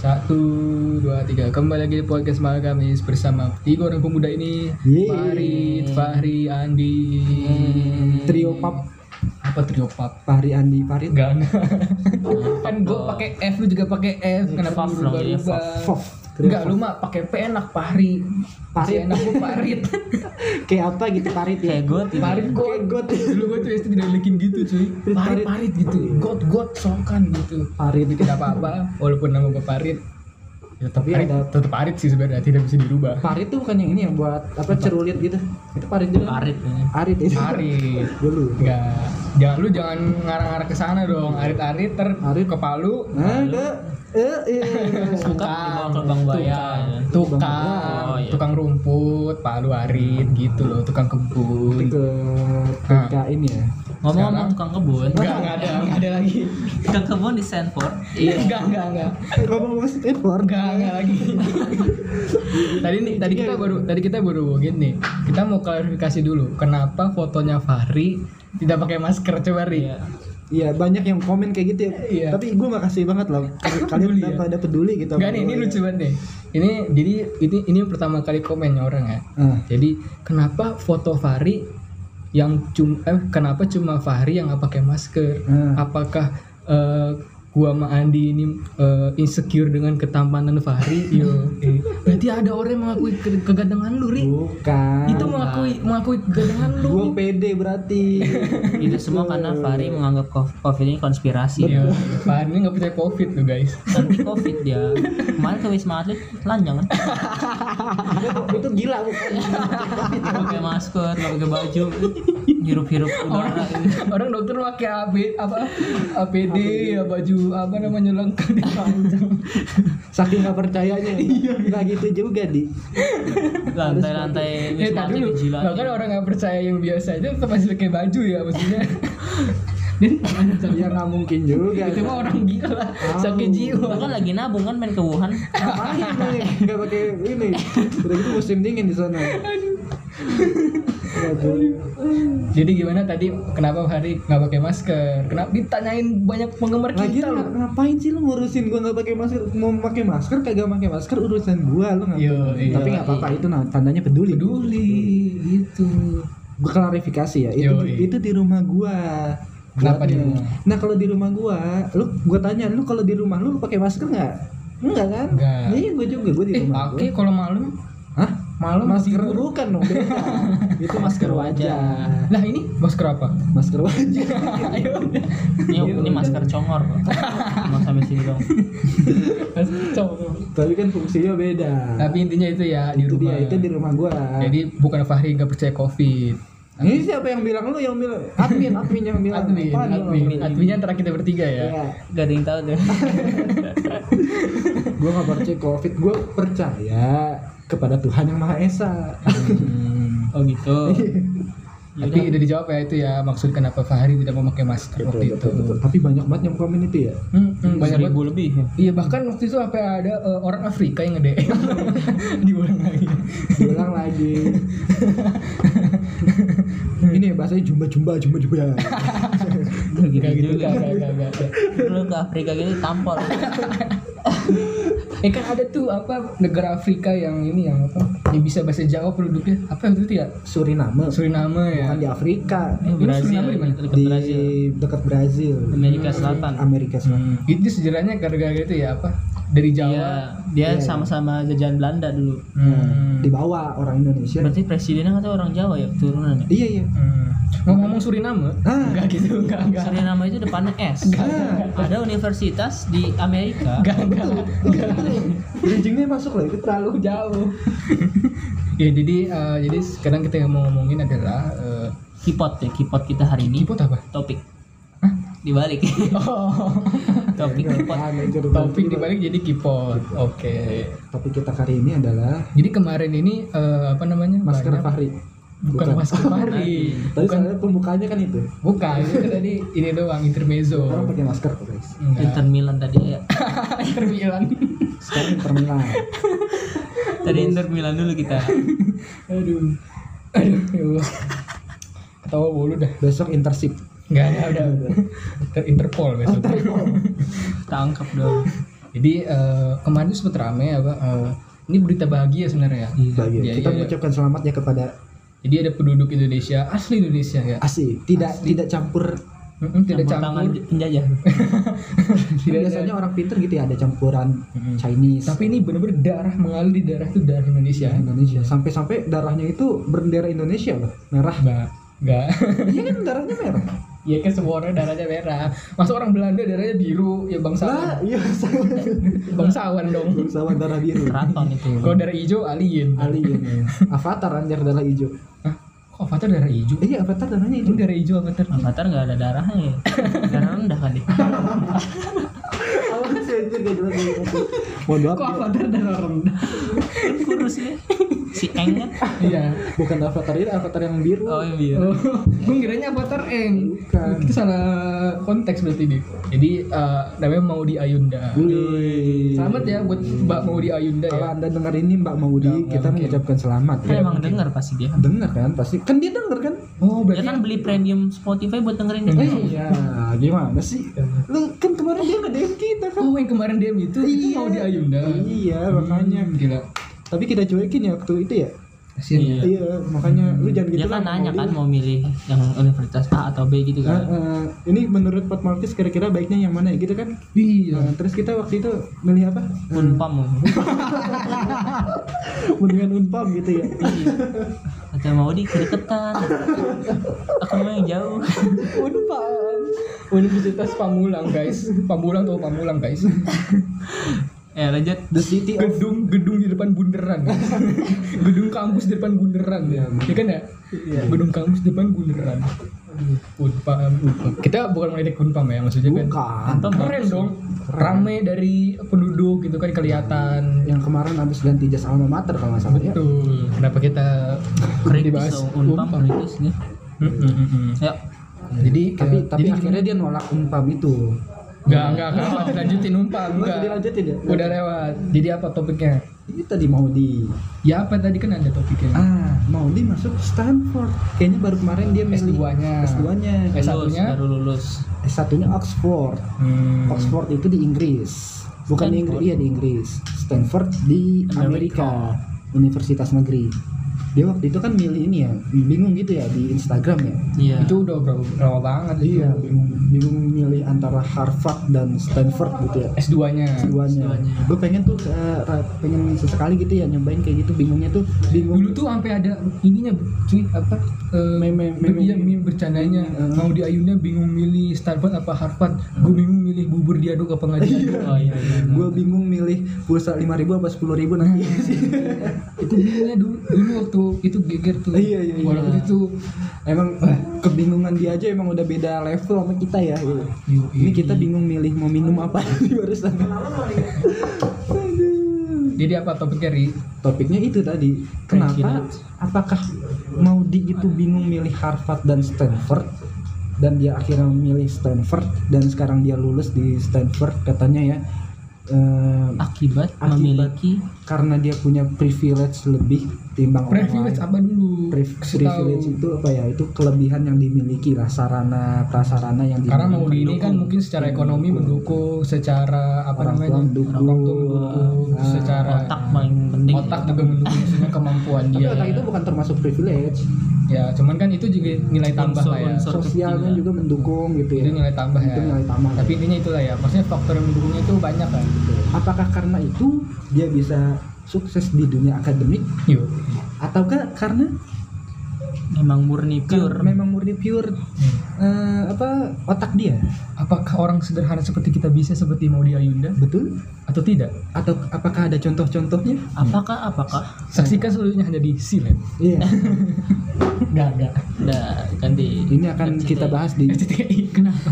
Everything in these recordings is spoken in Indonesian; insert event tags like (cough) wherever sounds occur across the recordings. Satu, dua, tiga. Kembali lagi di podcast malam Kamis bersama tiga orang pemuda ini. Yeay. Farid, Fahri, Andi. Hmm, Trio Pap. Apa trio pap? Fahri Andi Farid Enggak. kan gua pakai F lu juga pakai F. Kenapa Faf lu dong, iya, berubah? Fof Enggak, lu mah pakai P enak Fahri. Fahri. Masih enak gua (laughs) Farid. Kayak apa gitu Farid ya kayak gue tidak Farid got. Kayak got. Dulu gua tuh SD tidak bikin gitu, cuy. Farid. Farid, Farid gitu. God, God, sokan gitu. Farid Tapi tidak apa-apa walaupun nama gue Farid ya tapi Farid, Tapi ada- tetap Farid sih sebenarnya tidak bisa dirubah Farid tuh bukan yang ini yang buat apa cerulit gitu itu Farid juga parit ini. Arit itu Farid Gua lupa. enggak jangan lu jangan ngarang-ngarang ke sana dong Arit Arit ter Arit. ke Palu Nah, itu eh iya. Suka dibawa ke Bang Bayan. tukang Oh, iya. tukang rumput Palu Arit gitu loh tukang Itu kebun ke TK ini ya. Ngomong-ngomong tukang kebun. enggak enggak ada Iya. enggak ada lagi Tukang kebun di Stanford. enggak enggak enggak Ngomong-ngomong skateboard. Enggak, enggak lagi. (laughs) Iya. tadi nih, tadi kita baru tadi kita baru ngomongin nih. Kita mau klarifikasi dulu kenapa fotonya Fahri tidak pakai masker coba Ri. Iya, banyak yang komen kayak gitu ya. Iya. Tapi gue makasih banget loh. Kalian Peduli udah ya? pada peduli gitu. Enggak nih, ini lucu banget nih. Ini jadi ini ini pertama kali komennya orang ya. Ah, Jadi kenapa foto Fahri yang cuma eh, kenapa cuma Fahri yang nggak pakai masker? Hmm. Apakah eh, gua sama Andi ini eh, insecure dengan ketampanan (laughs) Fahri? Yo, eh. berarti ada orang yang mengakui ke- kegantengan lu, Ri. bukan. itu mengakui mengakui kegantengan lu kan. gue pede berarti. Itu semua karena Fahri menganggap co- COVID ini konspirasi. Iya. Pak ini nggak percaya covid tuh guys Nanti COVID dia. Kemarin ke Wisma Atlet telanjang kan. itu gila bukan. Nggak Pakai masker, nggak pakai baju. Hirup-hirup (laughs) udara. orang dokter pakai AB apa APD ya baju apa namanya lengkap di panjang Saking gak percayanya. Iya. Gak gitu juga di. Lantai-lantai ya tadi Wisma Atlet dulu bahkan gitu. dijilat. orang nggak percaya yang biasa aja tetap masih pakai baju ya maksudnya (laughs) Ya nggak mungkin juga. itu mah orang gila sakit jiwa Bahkan lagi nabung kan main ke Wuhan. Ngapain nih? Gak pakai ini. Udah gitu musim dingin di sana. Aduh. jadi gimana tadi kenapa hari nggak pakai masker kenapa ditanyain banyak penggemar Lagi kita lu loh ngapain sih lu ngurusin gua nggak pakai masker? Mau pakai masker kagak pakai masker urusan gua lu ngapain? Yo, iya. Tapi nggak apa-apa itu nah, tandanya peduli. peduli gitu Gue klarifikasi ya. Yo, Itu iya. itu di rumah gua. Kenapa di Buatnya. rumah? Nah kalau di rumah gua, lu gua tanya lu kalau di rumah lu, lu pakai masker nggak? Enggak kan? Nggak. Iya gua juga gua di eh rumah. gua. pakai kalau malam Hah? malam masker tidur. bukan dong (laughs) beda. itu masker wajah Lah ini masker apa? (laughs) masker wajah Ayo udah. Ini, ini masker congor kok. Mau sampai sini dong. tapi kan fungsinya beda Tapi intinya itu ya di itu rumah. dia itu di rumah gua Jadi bukan Fahri nggak percaya covid. ini siapa yang bilang lu yang bilang admin admin yang bilang Admin, Apaan lu? admin, adminnya antara kita bertiga ya. Iya. Gak ada yang tahu deh. gua nggak percaya covid gua percaya kepada Tuhan yang Maha Esa Iya. Hmm. Oh gitu. Tapi udah dijawab ya itu ya maksud kenapa Fahri tidak memakai masker waktu itu. tapi banyak banget yang komen itu ya Hmm, hmm, (laughs) banyak Banyak banget. ribu lebih. ya. Iya bahkan waktu itu sampai ada eh, orang Afrika yang ngede (laughs) diulang lagi. bilang (laughs) lagi ini bahasanya jumba jumba jumba (laughs) jumba Gak gitu Gak gitu, juga. gak, gak, gak, gak, gak. Lu ke Afrika gini tampol. Eh kan ada tuh apa negara Afrika yang ini yang apa yang bisa bahasa Jawa penduduknya apa waktu itu ya Suriname Suriname ya. bukan di Afrika Eh, Brazil, Suriname Iya, di mana? dekat di Brazil. dekat Brazil Amerika Selatan. Amerika Selatan Hmm. Itu sejarahnya gara-gara itu ya apa? Dari Jawa. Iya, dia Iya, sama-sama jajahan Belanda dulu. Nah, Hmm. dibawa orang Iya. Indonesia Berarti presidennya kata orang Jawa ya keturunan ya. iya iya (laughs) Hmm. Ngomong-ngomong Suriname? Ah. Enggak gitu, enggak enggak. Suriname itu depannya S. ah, Ada universitas di Amerika. Enggak enggak. enggak. bridgingnya masuk loh itu terlalu Jauh. ya jadi eh, jadi sekarang kita yang mau ngomongin adalah eh, Kipot ya, kipot kita hari ini. kipot apa? Topik Hah? (laughs) dibalik. Oh, Topik kipot. Apaan itu? topik dibalik jadi kipot. Oke. topik kita kali ini adalah Jadi kemarin ini eh, apa namanya? masker banyak- Fahri bukan, masker Fahri. tadi soalnya pembukaannya kan itu Bukan, itu tadi ini doang intermezzo. orang pakai masker guys Enggak. (laughs) Inter Milan tadi ya. Inter Milan. sekarang terminal Tadi Inter Milan dulu kita. Aduh. Aduh, ya Allah. Ketawa bolu dah. besok intership Iya, Enggak ada, udah. Inter Interpol besok. Tangkap dong. Jadi eh, kemarin tuh sempet rame apa eh, ini berita bahagia sebenarnya. Iya, bahagia. Iya, iya, kita iya. mengucapkan selamat ya kepada Jadi ada penduduk Indonesia asli Indonesia ya. asli tidak tidak campur Kan Mm-mm, tidak Campur tangan (laughs) campur. penjajah. Tidak biasanya orang pinter gitu ya ada campuran Mm-mm. Chinese Tapi ini benar-benar darah mengalir di darah itu darah Indonesia. Ya, Indonesia Hmm. sampai-sampai darahnya itu bendera Indonesia loh merah Mbak, enggak. (laughs) iya kan darahnya merah (laughs) Iya kan semua orang darahnya merah. Masa orang Belanda darahnya biru, ya bangsawan. lah iya sama (laughs) Bangsawan dong. (laughs) sama darah biru Keraton itu. Kalau darah hijau alien. alien ya. avatar anjir darah hijau Hah? Kok Avatar darah hijau? Eh, iya avatar darahnya Itu hijau darah hijau Avatar. Avatar nggak ada darahnya. ya. Darah rendah (laughs) kali. Awas, anjir, gak jelas, gak jelas. mohon maaf Kok ya. Avatar darah rendah? Kurusnya. ya. Si Eng kan. Iya. bukan avatar ini avatar yang biru Oh iya. biar. Oh, (laughs) gue ngiranya Avatar Eng. Bukan. Itu salah konteks berarti nih. Jadi eh, namanya mau di Ayunda. iya, Wih. Selamat ya buat Mbak mau di Ayunda kalau ya. anda dengar ini Mbak Maudi Nggak, nggak kita mungkin. mengucapkan selamat Kan ya emang dengar pasti dia. dengar kan pasti kan dia dengar kan Oh, Dia berarti kan beli premium Spotify buat Eh, dengerin kita. iya gimana sih lu kan kemarin dia nge-DM kita kan Oh, yang kemarin DM itu itu Iya. mau di Ayunda. iya makanya Hmm, Gila. tapi kita cuekin ya waktu itu ya Kasihan. Iya. iya makanya lu jangan gitu Dia kan lah, nanya Maudi. kan mau milih yang universitas A atau B gitu Eh, kan. eh, ini menurut Pak Martis kira-kira baiknya yang mana ya gitu kan Iya. Eh, terus kita waktu itu milih apa Unpam. mendingan unpam gitu ya Iya. Kata mau di kedekatan. Aku mau yang jauh. Unpam. Universitas Pamulang, guys. Pamulang tuh Pamulang, guys. Eh lanjut. the city of Gedung gedung di depan bundaran. gedung kampus di depan bundaran ya. Iya kan ya? Gedung kampus di depan bundaran. Unpam, Unpam. Kita bukan melihat Unpam ya, Iya maksudnya kan. bukan Unpam Keren dong. Rame dari penduduk gitu kan kelihatan. yang kemarin habis ganti jas alma mater kalau nggak salah ya Betul. Kenapa kita kritis dong. Unpam kritis nih. Mm, mm, mm, mm. Ya. Jadi tapi kayak- tapi jadi akhirnya dia nolak unpam itu enggak enggak enggak dilanjutin umpam Nggak enggak. dilanjutin ya Udah lewat. Jadi apa topiknya? ini tadi mau di Ya apa tadi kan ada topiknya? ah mau di masuk Stanford kayaknya baru kemarin dia milih S2-nya. S2-nya Eh, Lulus, satunya? baru lulus. S1-nya Oxford Hmm. Oxford itu di Inggris bukan di Inggris Stanford. iya di Inggris Stanford di Amerika. Amerika Universitas negeri dia waktu itu kan milih ini ya bingung gitu ya di Instagram ya Iya. Itu udah berapa lama banget itu. Iya, bingung, bingung milih antara Harvard dan Stanford gitu ya. S2-nya. Duanya. Duanya. Gue pengen tuh eh, ra- pengen sesekali gitu ya nyobain kayak gitu bingungnya tuh bingung Dulu tuh sampai ada ininya cuy apa eh, Meme- ber- meme. iya, meme bercandanya Eh, Meme. mau di ayunnya bingung milih Stanford apa Harvard gue bingung milih bubur diaduk apa nggak diaduk Oh iya. iya. gue bingung milih pulsa 5000 apa 10000 nanti. itu bingungnya dulu dulu waktu itu geger tuh Iya, iya, iya. walaupun itu emang eh, kebingungan dia aja emang udah beda level sama kita ya. Yuk, Ini kita bingung milih mau minum apa (laughs) di barusan. Aduh. jadi apa topiknya Ri? Topiknya itu tadi, kenapa apakah Maudi itu bingung milih Harvard dan Stanford dan dia akhirnya memilih Stanford dan sekarang dia lulus di Stanford katanya ya eh, Ah. Akibat, Akibat. memiliki karena dia punya privilege lebih timbang orang privilege lain. apa dulu? Priv- Kasih tahu. privilege itu apa ya? Itu kelebihan yang dimiliki lah sarana prasarana yang dimiliki. karena mau di ini kan mungkin secara ekonomi mendukung, secara apa orang tua namanya? mendukung, orang tua mendukung, Ah. secara otak paling penting. otak juga mendukung maksudnya kemampuan Tapi dia. otak itu bukan termasuk privilege, Ya, cuman kan itu juga nilai tambah lah ya. Unsur-unsur sosialnya ketiga. juga mendukung gitu ya. Itu nilai tambah ya. Itu nilai tambah. Tapi intinya itulah ya. Maksudnya faktor yang mendukungnya itu banyak kan. apakah karena itu dia bisa sukses di dunia akademik Yuk. ataukah karena Memang murni Kan pure. memang murni pure Hmm. eh, apa otak dia Apakah orang sederhana seperti kita bisa seperti Maudi Ayunda betul atau tidak? atau apakah ada contoh-contohnya Apakah apakah? Saksikan seluruhnya hanya di Silen. iya Enggak, enggak. Udah ganti. ini akan RCTI. kita bahas (laughs) di SCTI kenapa?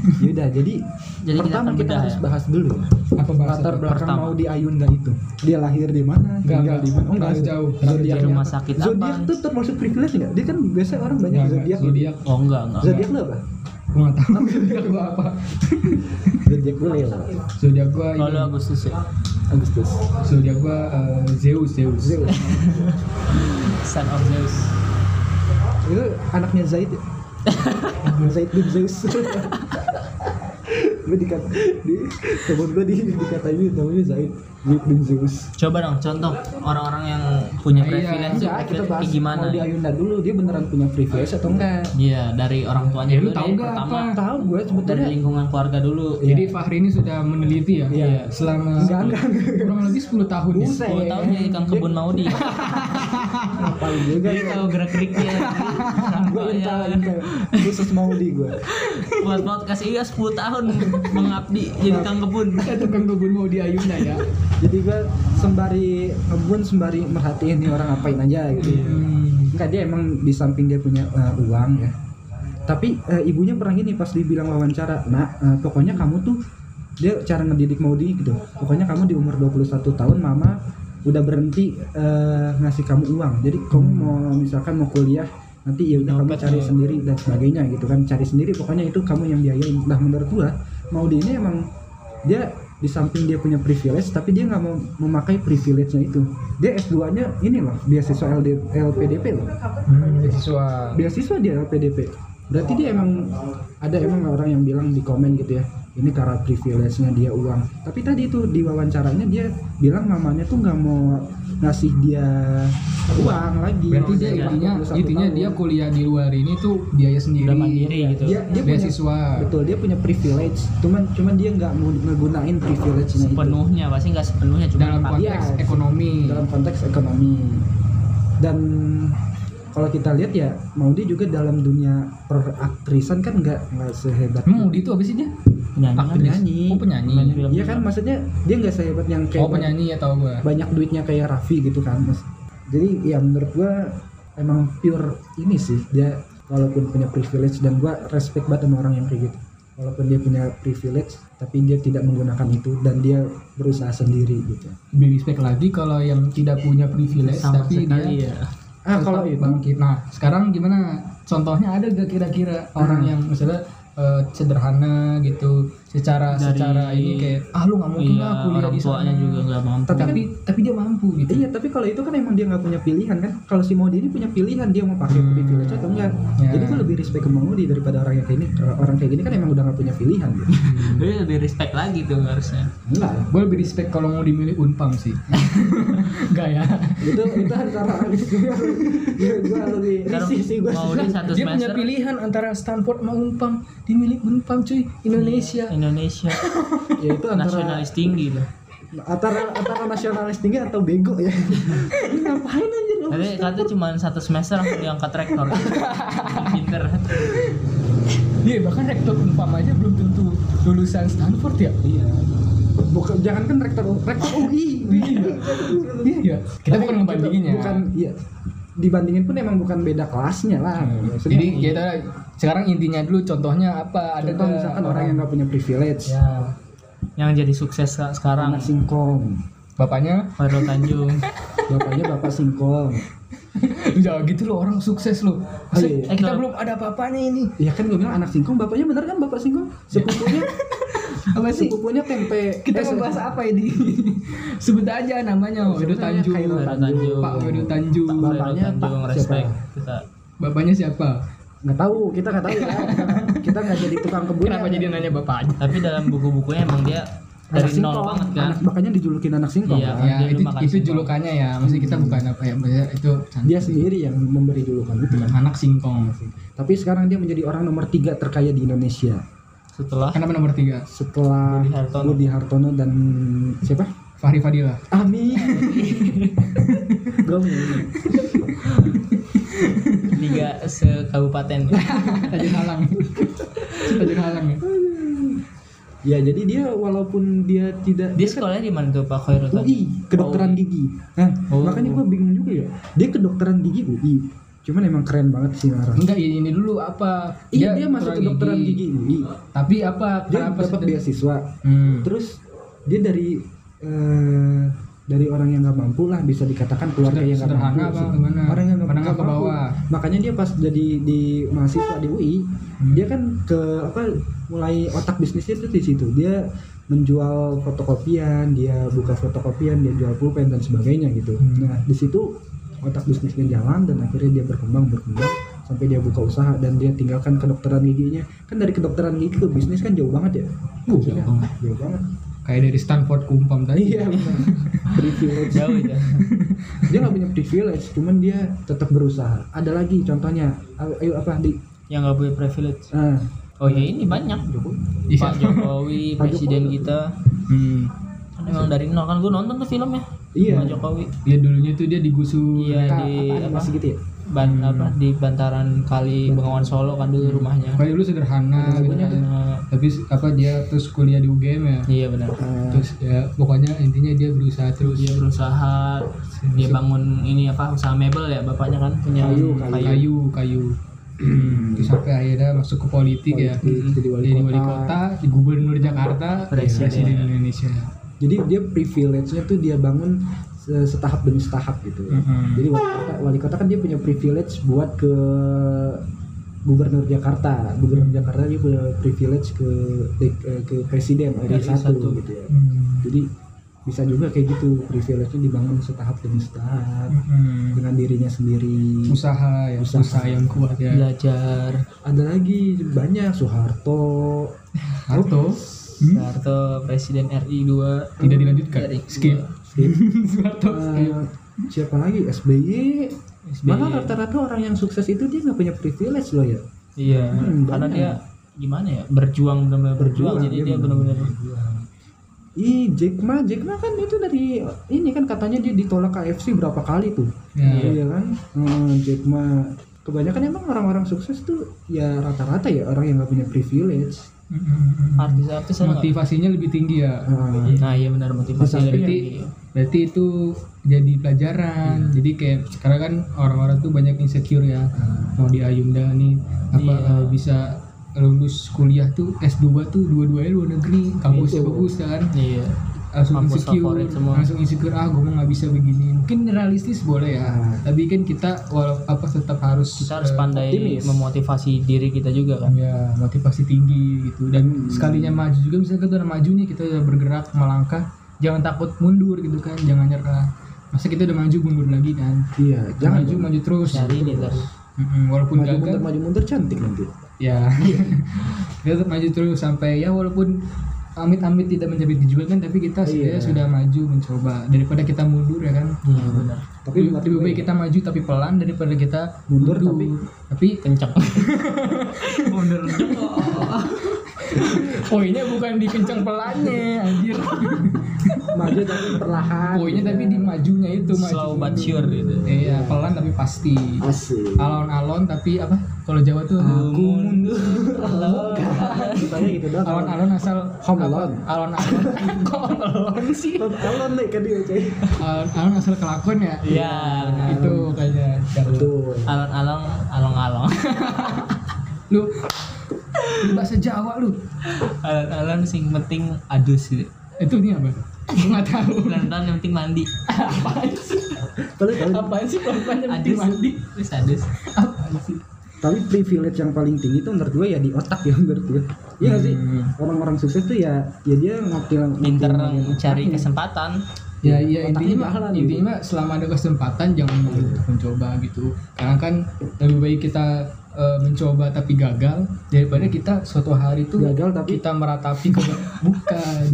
yaudah jadi, Jadi kita pertama akan kita bedah harus ya. bahas dulu Apa bahasa? latar belakang Pertama. mau di Ayunda itu dia lahir di mana Enggak, tinggal enggak. di mana oh enggak Terlalu jauh. zodiak Terlalu rumah sakit apa? zodiak itu termasuk privilege nggak dia kan biasa orang banyak Enggak, enggak. zodiak gitu. Zodiak. Oh enggak enggak. enggak. zodiak lo apa Gua nggak tahu zodiak gua apa. zodiak gue Leo Zodiak gua ini. Kalau Agustus ya. Agustus Zodiak gua eh, Zeus, Zeus. Zeo Son of Zeus. (laughs) itu anaknya Zaid ya? Zaid bin Zeus gue dikata di temen gue di dikatain namanya Zaid Zaid bin Zeus Coba dong contoh orang-orang yang punya Iya, privilege enggak kita privilege bahas Kan kayak gimana? mau di Ayunda dulu dia beneran punya privilege atau enggak Iya, dari orang tuanya Ya, lu dulu tahu deh nggak pertama. apa? tahu gue Dari sebetulnya lingkungan keluarga dulu. Jadi Fahri ini sudah meneliti ya. Iya. Selama enggak enggak kurang lebih 10 tahun ya. Buset. 10 tahun jadi Oh, kang kebun (laughs) Maudi. apal Nah, juga Dia tahu gerak-geriknya. gue intel Iya. intel khusus mau di gue Buat podcast iya 10 tahun mengabdi jadi kang kebun. Eh, tukang kebun mau di Ayunda ya. jadi gue sembari ngebun sembari merhatiin nih orang ngapain aja gitu Iya. Hmm, Enggak dia emang di samping dia punya uh, uang ya. Tapi uh, ibunya pernah gini pas dibilang wawancara, "Nah, uh, pokoknya kamu tuh dia cara ngedidik Maudi gitu. Pokoknya kamu di umur 21 tahun mama udah berhenti uh, ngasih kamu uang. Jadi kamu mau misalkan mau kuliah nanti ya udah kamu Hmm. Dapat cari ya. sendiri dan sebagainya gitu kan. Cari sendiri pokoknya itu kamu yang biayain. Nah, menurut gua Maudi ini emang dia di samping dia punya privilege tapi dia nggak mau memakai privilege-nya itu. Dia S2-nya ini loh, beasiswa LD, LPDP loh Hmm, siswa. beasiswa dia LPDP berarti dia emang ada emang orang yang bilang di komen gitu ya ini karena privilege-nya dia uang tapi tadi itu di wawancaranya dia bilang mamanya tuh nggak mau ngasih dia uang lagi Berarti dia Uang intinya 21 intinya tahun. dia kuliah di luar ini tuh biaya sendiri. Udah mandiri gitu. ya. dia, dia punya, beasiswa. betul dia punya privilege cuman cuman dia nggak mau ngegunain privilege-nya itu Sepenuhnya pasti nggak sepenuhnya cuma dalam dipakai. konteks Iya. ekonomi. dalam konteks ekonomi dan kalau kita lihat ya Maudi juga dalam dunia peraktrisan kan nggak nggak sehebat Emang Maudi itu apa sih dia? Penyanyi kan? Aktris. penyanyi. Oh penyanyi. Penyanyi film. Iya kan maksudnya dia nggak sehebat yang kayak Oh penyanyi ya tau gua. banyak duitnya kayak Raffi gitu kan mas. Jadi ya menurut gua emang pure ini sih dia walaupun punya privilege dan gua respect banget sama orang yang kayak gitu. Walaupun dia punya privilege tapi dia tidak menggunakan itu dan dia berusaha sendiri gitu. Lebih respect lagi kalau yang tidak punya privilege sama tapi sekali dia ya. Ah tetap kalau itu bangkit. Nah sekarang gimana? Contohnya ada gak kira-kira Hmm. orang yang misalnya eh, sederhana gitu secara Dari- secara ini kayak ah lu nggak mungkin Iya, lah kuliah orang di sana tuanya juga nggak mampu. tapi tapi, tapi dia mampu gitu Iya, tapi kalau itu kan emang dia nggak punya pilihan kan. Kalau si Maudi ini punya pilihan dia mau pakai Hmm. privilege atau enggak. Ya. Jadi gue lebih respect ke Maudi daripada orang yang kayak ini. Kalau orang kayak gini kan emang udah nggak punya pilihan. Gitu. Jadi lebih respect lagi tuh harusnya. (laughs) Enggak. gue lebih respect kalau mau dimilih unpam (laughs) sih Enggak ya itu itu antara gue lebih risih sih gue mau di satu dia punya semester pilihan antara Stanford sama unpam dimilih unpam cuy Indonesia Iya, Indonesia (laughs) ya itu antara nasionalis tinggi loh. antara antara nasionalis tinggi atau bego ya Ini (laughs) ngapain anjir lu? Tapi katanya cuma satu semester langsung diangkat (laughs) rektor. Pinter. iya bahkan rektor unpam aja belum tentu lulusan Stanford ya iya bukan jangan kan rektor rektor (laughs) UI iya ya kita bukan ngebandingin ya bukan iya dibandingin pun emang bukan beda kelasnya lah Maksudnya, Hmm. iya. jadi kita sekarang intinya dulu contohnya apa ada contoh nggak misalkan orang yang nggak punya privilege ya Yang jadi sukses sa- sekarang anak singkong bapaknya (laughs) Fairul Tanjung. bapaknya bapak singkong lu jangan gitu lo orang sukses lo Masa Oh, iya. kita Eh, belum ada apa-apanya ini ya kan gue bilang anak singkong bapaknya bener kan bapak singkong sepupunya Ya. (laughs) apa sih sepupunya tempe kita eh, se- ngebahas apa ini (laughs) sebut aja namanya Wedo Sebut aja Tanjung Khairul Fairul Tanjung. Pak Wedo Tanjung Fairul Bapaknya Tanjung Pak respect siapa? kita. bapaknya siapa nggak tahu kita nggak tahu ya kita nggak jadi tukang kebun kenapa ya. jadi nanya bapak aja Tapi dalam buku-bukunya emang dia anak dari nol singkong. banget kan. Anak- makanya dijulukin anak singkong Iya. kan? ya Dia itu dulu makan itu singkong. julukannya ya maksudnya kita bukan apa ya maksudnya itu dia sendiri yang memberi julukan itu kan anak singkong tapi sekarang dia menjadi orang nomor tiga terkaya di Indonesia Setelah kenapa nomor tiga setelah Budi Hartono. Budi Hartono dan siapa Fahri Fadila (laughs) Amin Gong. liga sekabupaten. Tajun Halang (laughs) Tajun Halang ya ya jadi dia walaupun dia tidak Dia sekolahnya di mana tuh Pak Khairul Tanjung? UI kedokteran gigi nah Oh. makanya gua bingung juga ya dia kedokteran gigi UI cuman emang keren banget sih orang enggak ini ini dulu apa iya dia, masuk kedokteran gigi. UI tapi apa dia kenapa dapat sedang- beasiswa Hmm. terus dia dari eh, dari orang yang nggak mampu lah bisa dikatakan keluarga yang nggak Sederhana mampu apa sih. gimana? orang yang nggak Menengah nggak ke mampu. bawah. makanya dia pas jadi di mahasiswa di UI Hmm. dia kan ke apa mulai otak bisnisnya itu di situ dia menjual fotokopian dia buka fotokopian dia jual pulpen dan sebagainya gitu Hmm. nah di situ otak bisnisnya jalan dan akhirnya dia berkembang berkembang sampai dia buka usaha dan dia tinggalkan kedokteran giginya kan dari kedokteran gigi ke bisnis kan jauh banget ya Uh, Jauh banget. jauh banget kayak dari Stanford kumpam tadi iya benar. privilege Jauh ya. dia nggak punya privilege cuman dia tetap berusaha ada lagi contohnya ayo ayo apa di Yang nggak punya privilege. ah, Oh ya ini banyak. Jokowi Iya. Pak Jokowi, Pak presiden Jokowi. kita. Hmm. Kan emang dari nol kan gue nonton tuh filmnya. iya Pak Jokowi. Dia dulunya tuh dia digusur. Iya Ka- di apa apa? animasi gitu ya Ban, apa di bantaran kali Bengawan Solo kan dulu rumahnya. Kayak dulu sederhana gitu kan. Karena- Tapi s- apa dia terus kuliah di UGM ya. Iya benar. Ah, Terus ya pokoknya intinya dia berusaha terus Iya. Dia berusaha dia bangun ini apa usaha mebel ya bapaknya kan punya Kayu, kayu. Hmm. kayu kayu. terus sampai akhirnya masuk ke politik, ya. politik, jadi wali Jadi wali kota. kota, gubernur Jakarta, Presiden. presiden Indonesia. jadi dia privilege-nya tuh dia bangun se- setahap demi setahap gitu Mm-hmm. Mm-mm. jadi wali kota, wali kota kan dia punya privilege buat ke gubernur Jakarta gubernur Jakarta dia punya privilege ke dek- eh, ke presiden Dari dari satu satu. Mm-hmm. gitu ya Hmm. jadi bisa juga kayak gitu privilege-nya dibangun setahap demi setahap Mm-mm. dengan dirinya sendiri Hmm. usaha ya usaha, Usaha. Iya. yang kuat ya belajar ada lagi banyak Soeharto Harto Hmm? Soeharto presiden RI 2 tidak dilanjutkan Dari skip skip, Soeharto skip eh, siapa lagi SBY SBY. malah rata-rata orang yang sukses itu dia nggak punya privilege loh ya Iya, Hmm, karena banyak. dia gimana ya? Berjuang benar-benar berjuang, jadi dia benar-benar berjuang. Ih, Jack Ma, Jack Ma kan itu dari ini kan katanya dia ditolak KFC berapa kali tuh. Ya. Iya kan? Hmm, Jack Ma. Kebanyakan emang orang-orang sukses tuh ya rata-rata ya orang yang nggak punya privilege. Mm-mm. artis-artis ada nggak? Hmm. motivasinya lebih tinggi ya Ah, Nah, iya benar motivasi Bisa, dari berarti berarti itu jadi Iya. pelajaran jadi kayak sekarang kan orang-orang tuh banyak insecure ya Eh, mau di Ayunda nih apa Iya. eh, bisa lulus kuliah tuh S2 tuh dua-duanya luar negeri kampusnya Itu. bagus kan Iya. langsung Kampus insecure favorit semua. langsung insecure ah gue nggak bisa begini mungkin realistis boleh ya Ah. tapi kan kita walau apa tetap harus Hmm. Kita harus eh, pandai optimis. memotivasi diri kita juga kan. Gitu. ya motivasi tinggi gitu dan Hmm. sekalinya maju juga misalnya kita udah maju nih kita udah bergerak melangkah jangan takut mundur gitu kan jangan nyerah masa kita udah maju mundur lagi kan iya, jangan maju maju, maju terus Cari ini Iya, terus. Mm-mm, walaupun maju gagal mundur, maju mundur cantik nanti. ya (laughs) kita tetap maju terus sampai ya walaupun amit-amit tidak mencapai tujuan kan tapi kita sebenarnya Iya. sudah maju mencoba daripada kita mundur ya kan Iya benar. Tapi lebih, buat lebih gue baik kita maju tapi pelan daripada kita Mundur tapi (laughs) Kencang. Mundur dong. poinnya bukan di kencang pelannya anjir maju tapi perlahan. poinnya tapi di majunya itu maju Slow but sure gitu. iya pelan tapi pasti asik. alon-alon tapi apa kalau Jawa tuh Ah, Aku mundur. Kalau Tanya gitu doang. alon-alon asal Home alone. apa? alon-alon kok home alone sih Alon nih kan dia, Cey. alon-alon asal kelakon ya Iya, benar. itu kayaknya Jawa. Betul. alon-alon along-along. (laughs) lu lu bahasa Jawa lu Alon-alon sing penting adus gitu. itu ini apa Gua nggak tahu Pelan-pelan yang penting mandi. apaan sih Tapi kalau apaan sih perempuan yang penting Adus. mandi Terus adus. apaan sih tapi privilege yang paling tinggi itu menurut gue ya di otak ya menurut gue iya nggak sih Hmm. orang-orang sukses tuh ya ya dia ngoptil Pinter mencari kesempatan. ya iya Otaknya gitu. intinya mah mahalan intinya mah selama ada kesempatan jangan malu untuk mencoba gitu karena kan lebih baik kita eh, mencoba tapi gagal daripada kita suatu hari tuh Gagal tapi- kita meratapi ke (laughs) bukan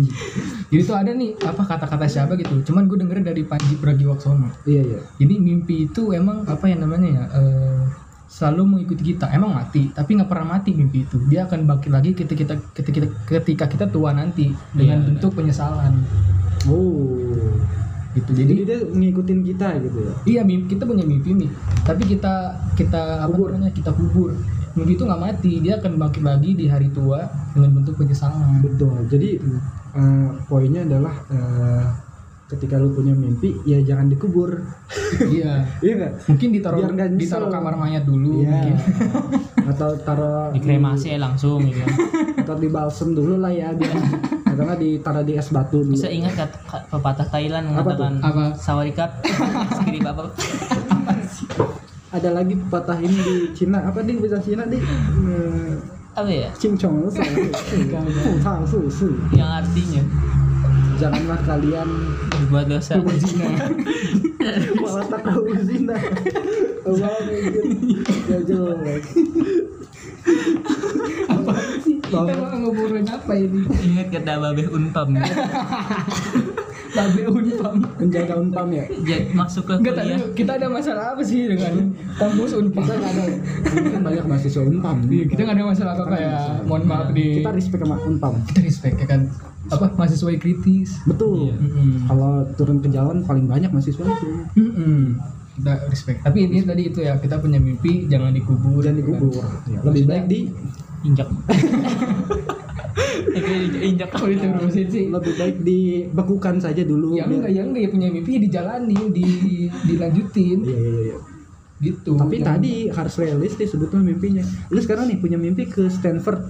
jadi tuh ada nih apa kata-kata siapa gitu cuman gue denger dari Panji Pragiwaksono iya iya jadi mimpi itu emang apa yang namanya ya eh, selalu mengikuti kita emang mati tapi nggak pernah mati mimpi itu dia akan bangkit lagi ketika kita ketika kita, ketika kita tua nanti dengan Iya. bentuk penyesalan oh gitu jadi, jadi dia ngikutin kita gitu ya Iya, mimpi, kita punya mimpi nih. Tapi kita kita apa Kubur. namanya? Kita kubur. Mimpi itu nggak mati, dia akan bangkit lagi di hari tua dengan bentuk (laughs) penyesalan. betul jadi eh, poinnya adalah eh, ketika lu punya mimpi ya jangan dikubur iya. iya nggak Mungkin ditaruh Biar nggak nyesel. ditaruh kamar mayat dulu Iya. (laughs) mungkin. atau taruh Dikremasi Iya. aja langsung (laughs) gitu. atau di balsem dulu lah ya (laughs) biar atau nggak ditaruh di es batu dulu Bisa ingat kata ka- pepatah Thailand Apa tuh? mengatakan Apa? sawarikap (laughs) skiri apa? ada lagi pepatah ini di Cina apa di bahasa Cina di Eh, Apa ya? 精虫是 Gagal. 腹胀术士， Yang artinya janganlah kalian berbuat dosa Zina. malah tak tahu zina Allah mungkin ya jelek Kita mau ngobrolin apa ini? (laughs) ingat kata babeh unpam Babe unpam. menjaga unpam ya jadi masuk ke Enggak tadi kuliah kita ada masalah apa sih dengan kampus unpam? kita nggak ada mungkin banyak mahasiswa unpam Iya, kita nggak ada masalah apa kayak mohon maaf di Hmm. kita respect sama unpam kita respect ya kan apa mahasiswa yang kritis betul Mm-mm. kalau turun ke jalan paling banyak mahasiswa itu Iya. Mm-mm. kita respect tapi intinya tadi itu ya kita punya mimpi jangan dikubur Kan? dan dikubur Iya. Iya. lebih baik di injak Tapi injak (laughs) kalau diterusin sih lebih baik dibekukan saja dulu ya enggak ya enggak ya punya mimpi dijalani di dilanjutin iya iya iya gitu Tapi Jangan- tadi harus realistis sebetulnya mimpinya. Lu sekarang nih punya mimpi ke Stanford.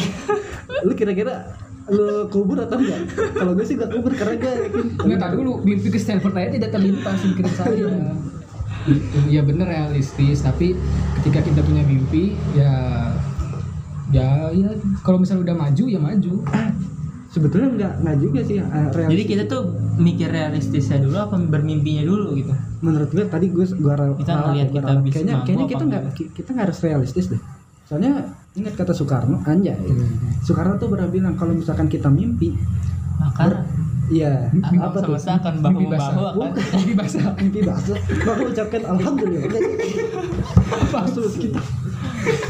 (laughs) lu kira-kira lu kubur atau enggak? Kalau gue sih gak kubur karena gue yakin. Enggak tahu dulu mimpi ke Stanford saya tidak terlintas pikiran Iya. saya. Gitu. Ya bener realistis, tapi ketika kita punya mimpi ya ya ya kalau misalnya udah maju ya maju. Ah, Sebetulnya enggak enggak juga sih eh, realistis. jadi kita tuh mikir realistisnya dulu apa bermimpinya dulu gitu menurut gue tadi gue gue ralat Kita ngeliat kita bisa kayaknya mampu kayaknya apa kita nggak ki- kita nggak harus realistis deh soalnya ingat kata Soekarno anjay Soekarno tuh pernah bilang kalau misalkan kita mimpi maka ya apa tuh sama-sama akan bahu Mimpi membahu basah. akan Mimpi basah. mimpi bahasa maka ucapkan alhamdulillah Maksud kita.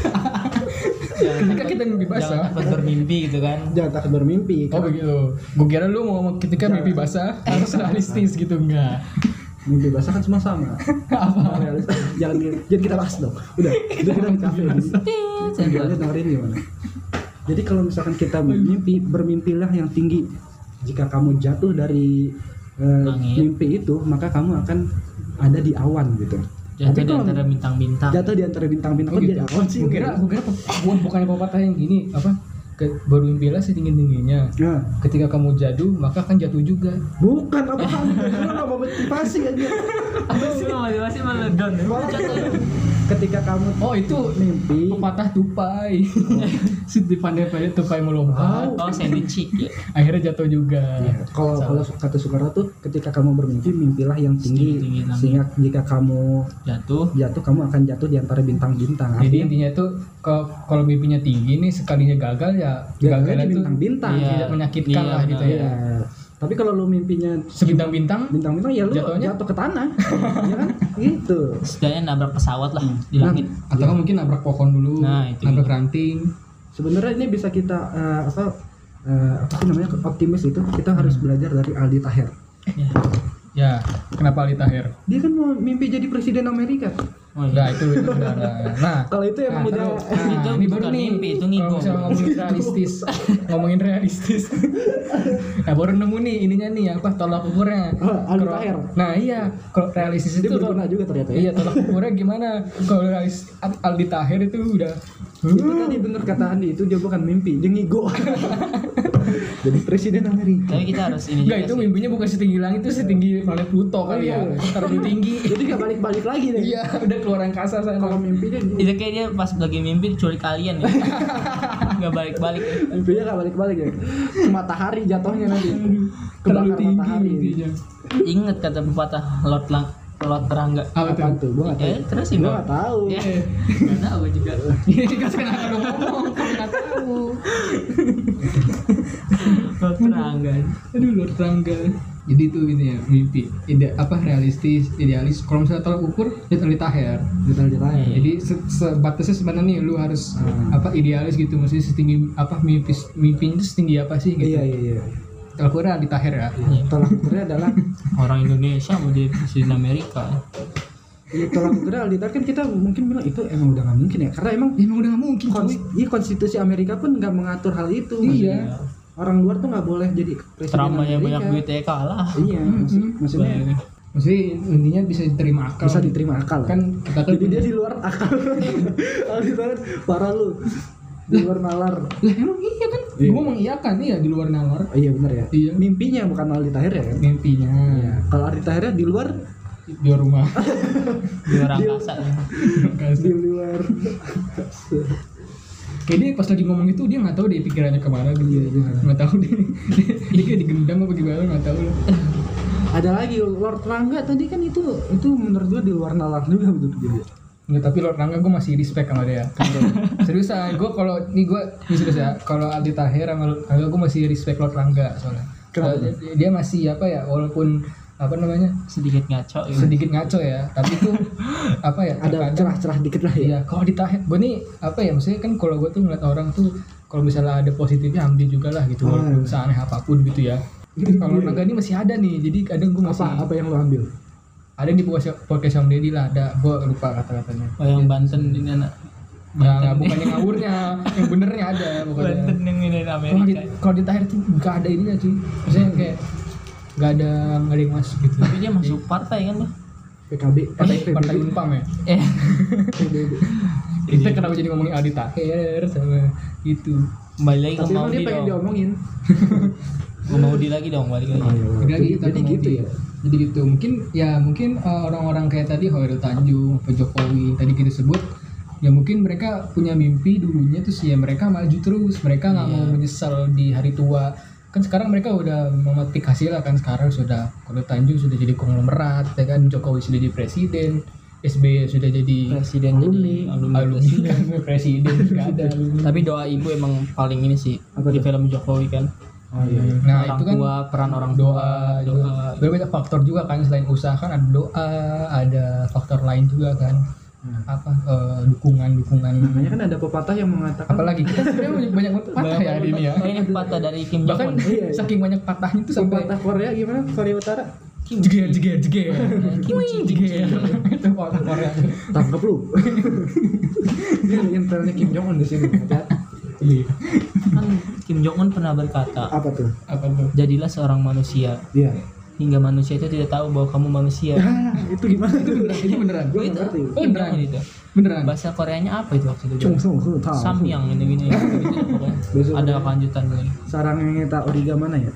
(laughs) Ketika kita mimpi jangan basah. takut bermimpi gitu kan jangan takut bermimpi Oh begitu. Gue kira lu mau ngomong ketika mimpi basah harus realistis gitu enggak. mimpi basah kan semua sama Apa? realistis jangan jadi kita bahas dong udah itu kita di kafe jadi Tit, Jadi sendal. aja dengerin Iya, gimana jadi kalau misalkan kita mimpi bermimpilah yang tinggi jika kamu jatuh dari eh, Langit. mimpi itu maka kamu akan ada di awan gitu jatuh di kalau antara bintang-bintang jatuh di antara bintang-bintang Oh kan gitu. jadi awan sih Gue kira gue kira bukan bukannya pepatah yang gini apa ke, baru mimpilah setinggi tingginya. Nah, Ketika kamu jatuh maka akan jatuh juga. bukan apa lu nggak mau motivasi aja apa sih lu motivasi malah down Malah ketika kamu Oh itu mimpi pepatah tupai (laughs) si pandai-pandai tupai melompat oh sandwich chick ya akhirnya jatuh juga kalau kalau kata Soekarno tuh ketika kamu bermimpi mimpilah yang tinggi, Setinggi-tinggi langit. sehingga jika kamu jatuh jatuh kamu akan jatuh di antara bintang-bintang jadi Artinya, intinya itu ke- kalau mimpinya tinggi nih sekalinya gagal ya jatuhnya gagal di itu bintang-bintang Iya. tidak menyakitkan Iya, lah gitu benar. ya Iya. tapi kalau lu mimpinya sebintang-bintang bintang-bintang ya lu Jatuhnya? jatuh ke tanah ya (laughs) kan gitu setidaknya nabrak pesawat lah di langit atau nggak mungkin nabrak pohon dulu Nah, itu nabrak ranting sebenarnya ini bisa kita eh, apa eh, apa sih namanya optimis itu kita harus Hmm. belajar dari Aldi Taher ya. ya kenapa Ali Tahir dia kan mau mimpi jadi presiden Amerika oh, iya. nah itu itu benar. nah kalau itu emang Nah, udah eh, terus, nah, Itu ini bukan baru nih, mimpi, itu Kalau ngigong. misalnya ngomongin realistis, ngomongin realistis. nah, baru nemu nih ininya nih apa tolak ukurnya. Oh, alur Kalau- air. Nah, iya, kalau realistis itu dia tol- berguna juga ternyata ya Iya, tolak ukurnya gimana? Kalau realis Al- Aldi Tahir itu udah Hmm. itu tadi bener kata Andi itu dia bukan mimpi (laughs) dia ngigo jadi presiden Amerika tapi kita harus ini Enggak, juga itu Iya sih. mimpinya bukan setinggi langit itu setinggi planet Pluto kali ya. iya. Terlalu tinggi. jadi gak balik-balik lagi deh Iya, udah keluar angkasa saya. kalau mimpi dia itu kayak dia pas lagi mimpi diculik kalian (laughs) ya nggak balik-balik ya. mimpinya gak balik-balik ya ke (laughs) matahari jatuhnya nanti terlalu kebakar tinggi matahari mimpinya. inget kata pepatah lot lang lot terangga Apa apa tuh? Eh, tuh gue gak tahu eh terus sih gue bang gak tahu ya nggak tahu gua juga Ini kan sekarang kalau ngomong, kalau nggak tahu. lot terangga aduh luar tangga jadi itu ini ya mimpi ide apa realistis idealis kalau misalnya tolak ukur ya terlalu tahir detail detailnya Iya. jadi se- sebatasnya sebenarnya nih lu harus Hmm. apa idealis gitu mesti setinggi apa mimpi mimpinya itu setinggi apa sih gitu iya iya iya tolak ukurnya di tahir ya Iya. tolak ukurnya adalah orang Indonesia mau jadi presiden Amerika iya, tolak ukurnya Aldi Taher kan kita mungkin bilang itu emang udah gak mungkin ya karena emang ya emang udah nggak mungkin cuy kons- iya, konstitusi Amerika pun gak mengatur hal itu Iya. Maksudnya, orang luar tuh gak boleh jadi presiden Trump aja Amerika. banyak duitnya kalah iya maksud- Mm-mm. maksudnya maksudnya intinya bisa diterima akal bisa diterima akal kan kita kan jadi dia di luar akal (laughs) Aldi Taher parah lu di luar nalar lah emang iya kan Iya. gua mengiyakan iya di luar nalar Oh, iya bener ya Iya. mimpinya bukan Aldi Taher ya kan mimpinya Iya. kalau Aldi Tahernya di luar di luar (laughs) rumah ya. di orang kasa Kasih. di luar kayak dia pas lagi ngomong itu dia nggak tahu deh pikirannya kemana (laughs) Iya, gitu iya. nggak tahu (laughs) deh dia kayak digendam apa gimana nggak tahu lah Ada lagi Lord Rangga tadi kan itu itu menurut gua di luar nalar juga menurut gua. Nggak, tapi Lord Rangga gue masih respect sama dia Kan, seriusan gue ah, kalau nih gue ini serius ya kalau Aldi Tahir sama Lord Rangga gue masih respect Lord Rangga soalnya Kenapa? Soalnya dia, dia masih apa ya walaupun apa namanya sedikit ngaco gitu. sedikit ngaco ya tapi (laughs) itu apa ya Ada terkadang- cerah-cerah dikit lah ya. Iya, kalau ditahan, gue nih apa ya maksudnya kan kalau gue tuh ngeliat orang tuh kalau misalnya ada positifnya ambil juga lah gitu, Ah. walaupun seaneh apapun gitu ya. Kalau naga ini masih ada nih, jadi kadang gue masih Apa apa yang lo ambil? ada yang di podcast podcast Om Deddy lah, ada gue lupa kata katanya. Oh yang Banten ini anak. Ya nggak bukannya ngawurnya, yang benernya ada Banten pokoknya. yang ini Kalau di Amerika. kalau di Tahir tuh nggak ada ininya cuy, maksudnya kayak nggak ada nggak ada yang masuk gitu. Tapi dia masuk partai kan tuh. PKB, Partai PKB. partai unpam ya. Eh, PBB. Kita kenapa jadi ngomongin Aldi Tahir sama gitu. itu? kembali lagi ke Tapi emang Maudi dia pengen dong. diomongin. Iya, Ke Maudi lagi dong, balik lagi. Jadi lagi kita Jadi ke gitu Maudi. ya. Jadi gitu. Mungkin ya mungkin eh, orang-orang kayak tadi Hoirul Tanjung, Pak Jokowi tadi kita sebut ya mungkin mereka punya mimpi dulunya terus ya mereka maju terus mereka nggak mau menyesal di hari tua kan sekarang mereka udah memetik hasil lah kan sekarang sudah Hoirul Tanjung sudah jadi konglomerat ya kan Jokowi sudah jadi presiden SBY sudah jadi Presiden jadi alumni. alumni kan, (laughs) presiden kan? nggak ada alumni. Tapi doa ibu emang paling ini sih Apa di tuh? film Jokowi kan. Oh iya. nah orang itu kan tua, peran orang doa tua, doa. juga Berarti banyak faktor juga kan selain usaha kan ada doa ada faktor lain juga kan Nah, apa dukungan dukungan Makanya kan ada pepatah yang mengatakan apalagi kita sebenarnya banyak banyak banget patah ya hari ini ya Oh, ini patah dari Kim Jong Un. bahkan Iya, iya. saking banyak patahnya itu sampai pepatah Korea gimana? Korea Utara. jeger jeger jeger Wih, jeger itu ya. patah Korea Tangkap lu. Ini ada intelnya Kim Jong Un di sini. Iya. Kan Kim Jong Un pernah berkata, (laughs) Apa tuh? apa tuh "Jadilah seorang manusia Iya. hingga manusia itu tidak tahu bahwa kamu manusia." Ah, itu gimana? ini beneran Gua nggak ngerti. oh Kim Jong Un beneran itu. beneram Bahasa Koreanya apa itu waktu itu? Cung sung hu tao. Samyang gini-gini. Gitu, pokoknya. Besok Ada lanjutan gitu. lagi. Sarang yang kita origa mana ya?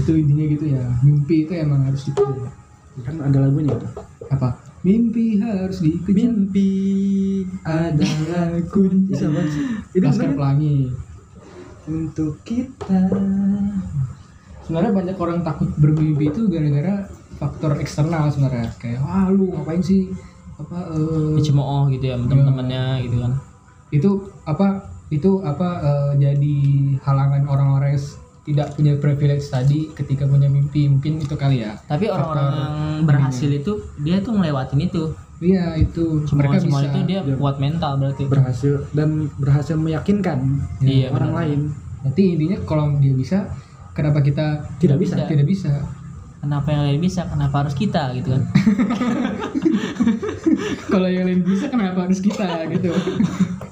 itu intinya gitu ya mimpi itu emang harus dikejar kan ada lagunya tuh. apa mimpi harus dikejar Mimpi adalah kunci. Bisa banget sih. Itu laskar bener kan? pelangi untuk kita. sebenarnya banyak orang takut bermimpi itu gara-gara faktor eksternal sebenarnya kayak wah lu ngapain sih apa eh, Dicemooh gitu ya sama teman-temannya gitu kan. itu apa itu apa eh, jadi halangan orang-orang yang s- tidak punya privilege tadi ketika punya mimpi mungkin itu kali ya Tapi orang-orang Faktor yang berhasil itu dia tuh ngelewatin itu. iya itu Semua mereka semua bisa itu dia kuat mental berarti. Berhasil dan berhasil meyakinkan ya, Iya, orang benar. lain nanti intinya kalau dia bisa kenapa kita tidak bisa. tidak bisa (laughs) Kenapa yang lain bisa, kenapa harus kita gitu kan? kalau yang lain bisa kenapa harus kita (laughs) gitu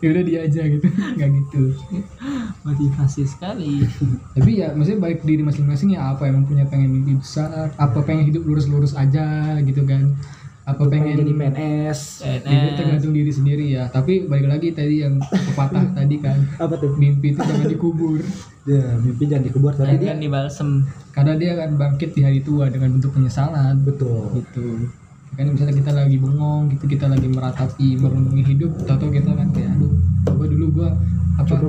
ya udah dia aja gitu nggak gitu Motivasi sekali. tapi ya maksudnya balik diri masing-masing ya apa emang punya pengen mimpi besar apa pengen hidup lurus-lurus aja gitu kan apa pengen Eh. jadi PNS. itu NS. tergantung diri sendiri ya tapi balik lagi tadi yang pepatah tadi kan Apa tuh? mimpi itu jangan dikubur Ya, mimpi jangan dikubur tapi Dan dia kan dibalsem. karena dia akan bangkit di hari tua dengan bentuk penyesalan betul. gitu kan misalnya kita lagi bengong gitu kita lagi meratapi merenungi hidup atau kita kan kayak aduh gua dulu gua Coba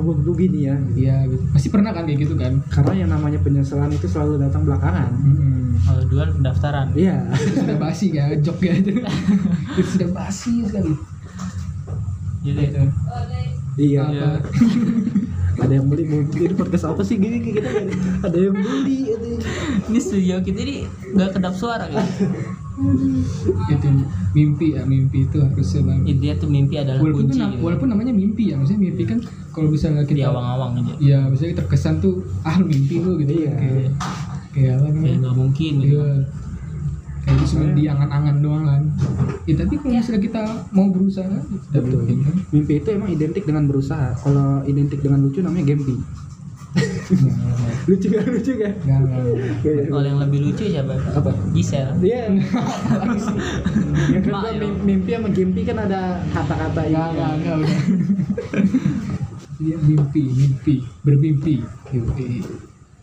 apa gue dulu gini ya. iya gitu pasti pernah kan kayak gitu kan Karena yang namanya penyesalan itu selalu datang belakangan. Mm-mm. Kalau duluan pendaftaran. Iya. (laughs) Itu sudah basi ya jok ya itu Itu sudah basi sekali Jadi itu. Iya. Apa? Ada yang beli mau jadi podcast apa sih gini kita ada yang beli itu. Ini studio kita ini nggak kedap suara kan? itu mimpi ya mimpi itu harusnya bang Iya, Intinya tuh mimpi adalah walaupun itu kunci. na- gitu. walaupun namanya mimpi ya maksudnya mimpi kan kalau misalnya Iya, Di kita awang-awang aja. ya misalnya terkesan tuh ah lu mimpi lu gitu Iya. kayak kayak apa Ya namanya nggak mungkin. Gitu. Iya. kayak itu cuma Iya. diangan-angan doang kan ya tapi kalau misalnya kita mau berusaha tidak Betul. mungkin kan Mimpi itu emang identik dengan berusaha. Kalau identik dengan lucu namanya gempi. Iya. Lucu gak lucu kan? gak? Nggak, nggak, nggak. Iya. Kalau yang lebih lucu siapa? Apa? Gisel. Iya. yang kedua Mak, ya. mim- mimpi sama gempi kan ada kata-kata ini. Enggak, enggak, enggak udah. Dia mimpi, mimpi, bermimpi. Mimpi.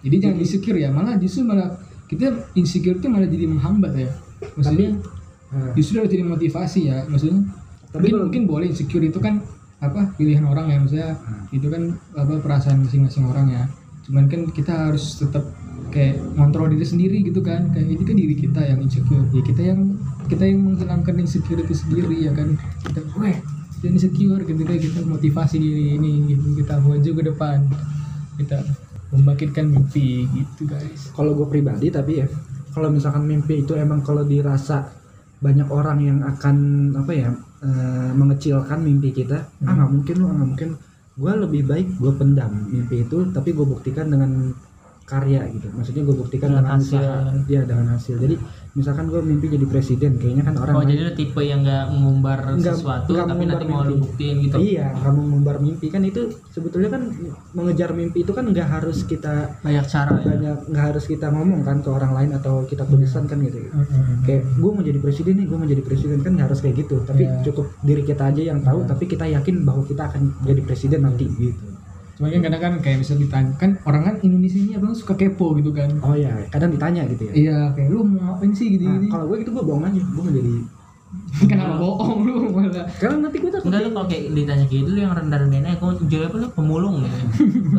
Jadi jangan insecure ya, malah justru malah kita insecure itu malah jadi menghambat ya. Maksudnya Nah, justru harus jadi motivasi ya, maksudnya. Tapi mungkin kalau- mungkin boleh insecure itu kan apa pilihan orang ya misalnya itu kan apa perasaan masing-masing orang ya cuman kan kita harus tetap kayak ngontrol diri sendiri gitu kan kayak ini kan diri kita yang insecure ya kita yang kita yang menghilangkan insecurity sendiri ya kan kita weh kita insecure ketika kita motivasi diri ini gitu kita maju ke depan kita membangkitkan mimpi gitu guys kalau gue pribadi tapi ya kalau misalkan mimpi itu emang kalau dirasa banyak orang yang akan apa ya eh, mengecilkan mimpi kita ah nggak mungkin lo nggak mungkin gue lebih baik gue pendam mimpi itu tapi gue buktikan dengan karya gitu maksudnya gue buktikan dengan, Dengan hasil. usaha ya dengan hasil jadi misalkan gue mimpi jadi presiden kayaknya kan orang Oh lain- jadi lu tipe yang nggak mengumbar Nggak- sesuatu nggak tapi nanti mau mengumbar lu mimpi. buktiin gitu. iya kamu mengumbar mimpi kan itu sebetulnya kan mengejar mimpi itu kan nggak harus kita Banyak cara ya. banyak nggak harus kita ngomong kan ke orang lain atau kita tulisan kan gitu kayak gue mau jadi presiden nih gue mau jadi presiden kan nggak harus kayak gitu tapi Iya. cukup diri kita aja yang tahu tapi kita yakin bahwa kita akan jadi presiden nanti gitu cuman kan kadang kan kayak misalnya ditanya kan orang kan Indonesia ini abang suka kepo gitu kan oh ya kadang ditanya gitu ya iya kayak lu mau ngapain sih gitu Nah, gini kalau gue gitu gue bohong aja gue mau jadi kenapa bohong lu malah karena nanti gue takut ya. Enggak lu kalau kayak ditanya gitu lu yang rendah-rendahin aja. Kamu jadi apa lu pemulung (laughs) ya?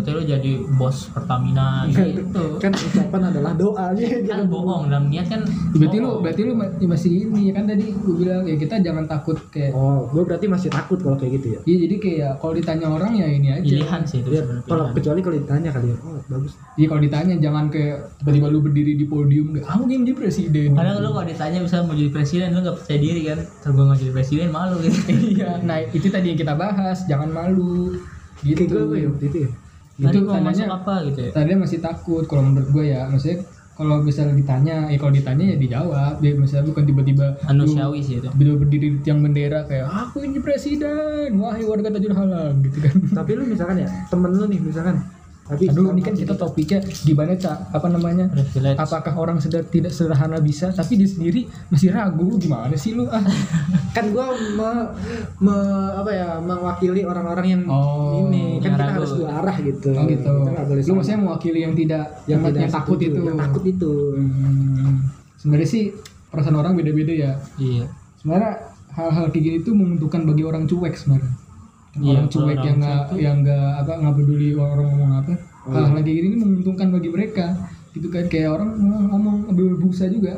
Atau lu jadi bos Pertamina gitu. kan ucapan adalah doa aja Gitu Kan bohong dalam niat kan. berarti lu bohong. berarti lu ma- masih ini ya kan tadi gue bilang ya kita jangan takut kayak oh gue berarti masih takut kalau kayak gitu ya Iya jadi kayak kalau ditanya orang ya ini aja. pilihan sih itu Ya, Iya, sebenarnya. kalau pilihan. kecuali kalau ditanya kali ya oh bagus Iya kalau ditanya jangan kayak tiba-tiba lu berdiri di podium gak kamu ingin jadi presiden. Kadang lu kalau ditanya bisa mau jadi presiden lu nggak percaya diri kan? Terus gua nggak jadi presiden malu gitu. Iya. Nah itu tadi yang kita bahas jangan malu. Gitu. kayak gue apa ya waktu itu ya (laughs) Tadi Itu mau masuk tandanya apa gitu Iya. ya? tadi masih takut kalau menurut gue ya maksudnya kalau misalnya ditanya ya kalau ditanya ya dijawab ya misalnya bukan tiba-tiba Anu lu Manusiawi Anu sih itu. tiba-tiba berdiri di tiang bendera kayak aku ini presiden wahai warga Tanjung Halang gitu kan tapi lu misalkan ya temen lu nih misalkan tapi Aduh ini kan kita topiknya gimana cak apa namanya Udah village. apakah orang sedar tidak sederhana bisa tapi dia sendiri masih ragu Lu gimana sih lu (laughs) ah kan gue me, me- apa ya mewakili orang-orang yang Oh, ini kan yang kita ragu. harus dua arah gitu oh, gitu kita nggak lu boleh sama. maksudnya mewakili yang tidak yang, tidak yang takut setuju, itu yang takut (laughs) itu Hmm, sebenarnya sih perasaan orang beda-beda ya Iya. sebenarnya hal-hal kayak gini tuh menguntungkan bagi orang cuek sebenarnya Iya, orang kalau cuek orang yang nggak cuek Oh, iya. tuh- yang nggak apa nggak peduli orang ngomong apa hal-hal kayak gini ini menguntungkan bagi mereka gitu kan kayak orang ngomong- ngomong berbusa juga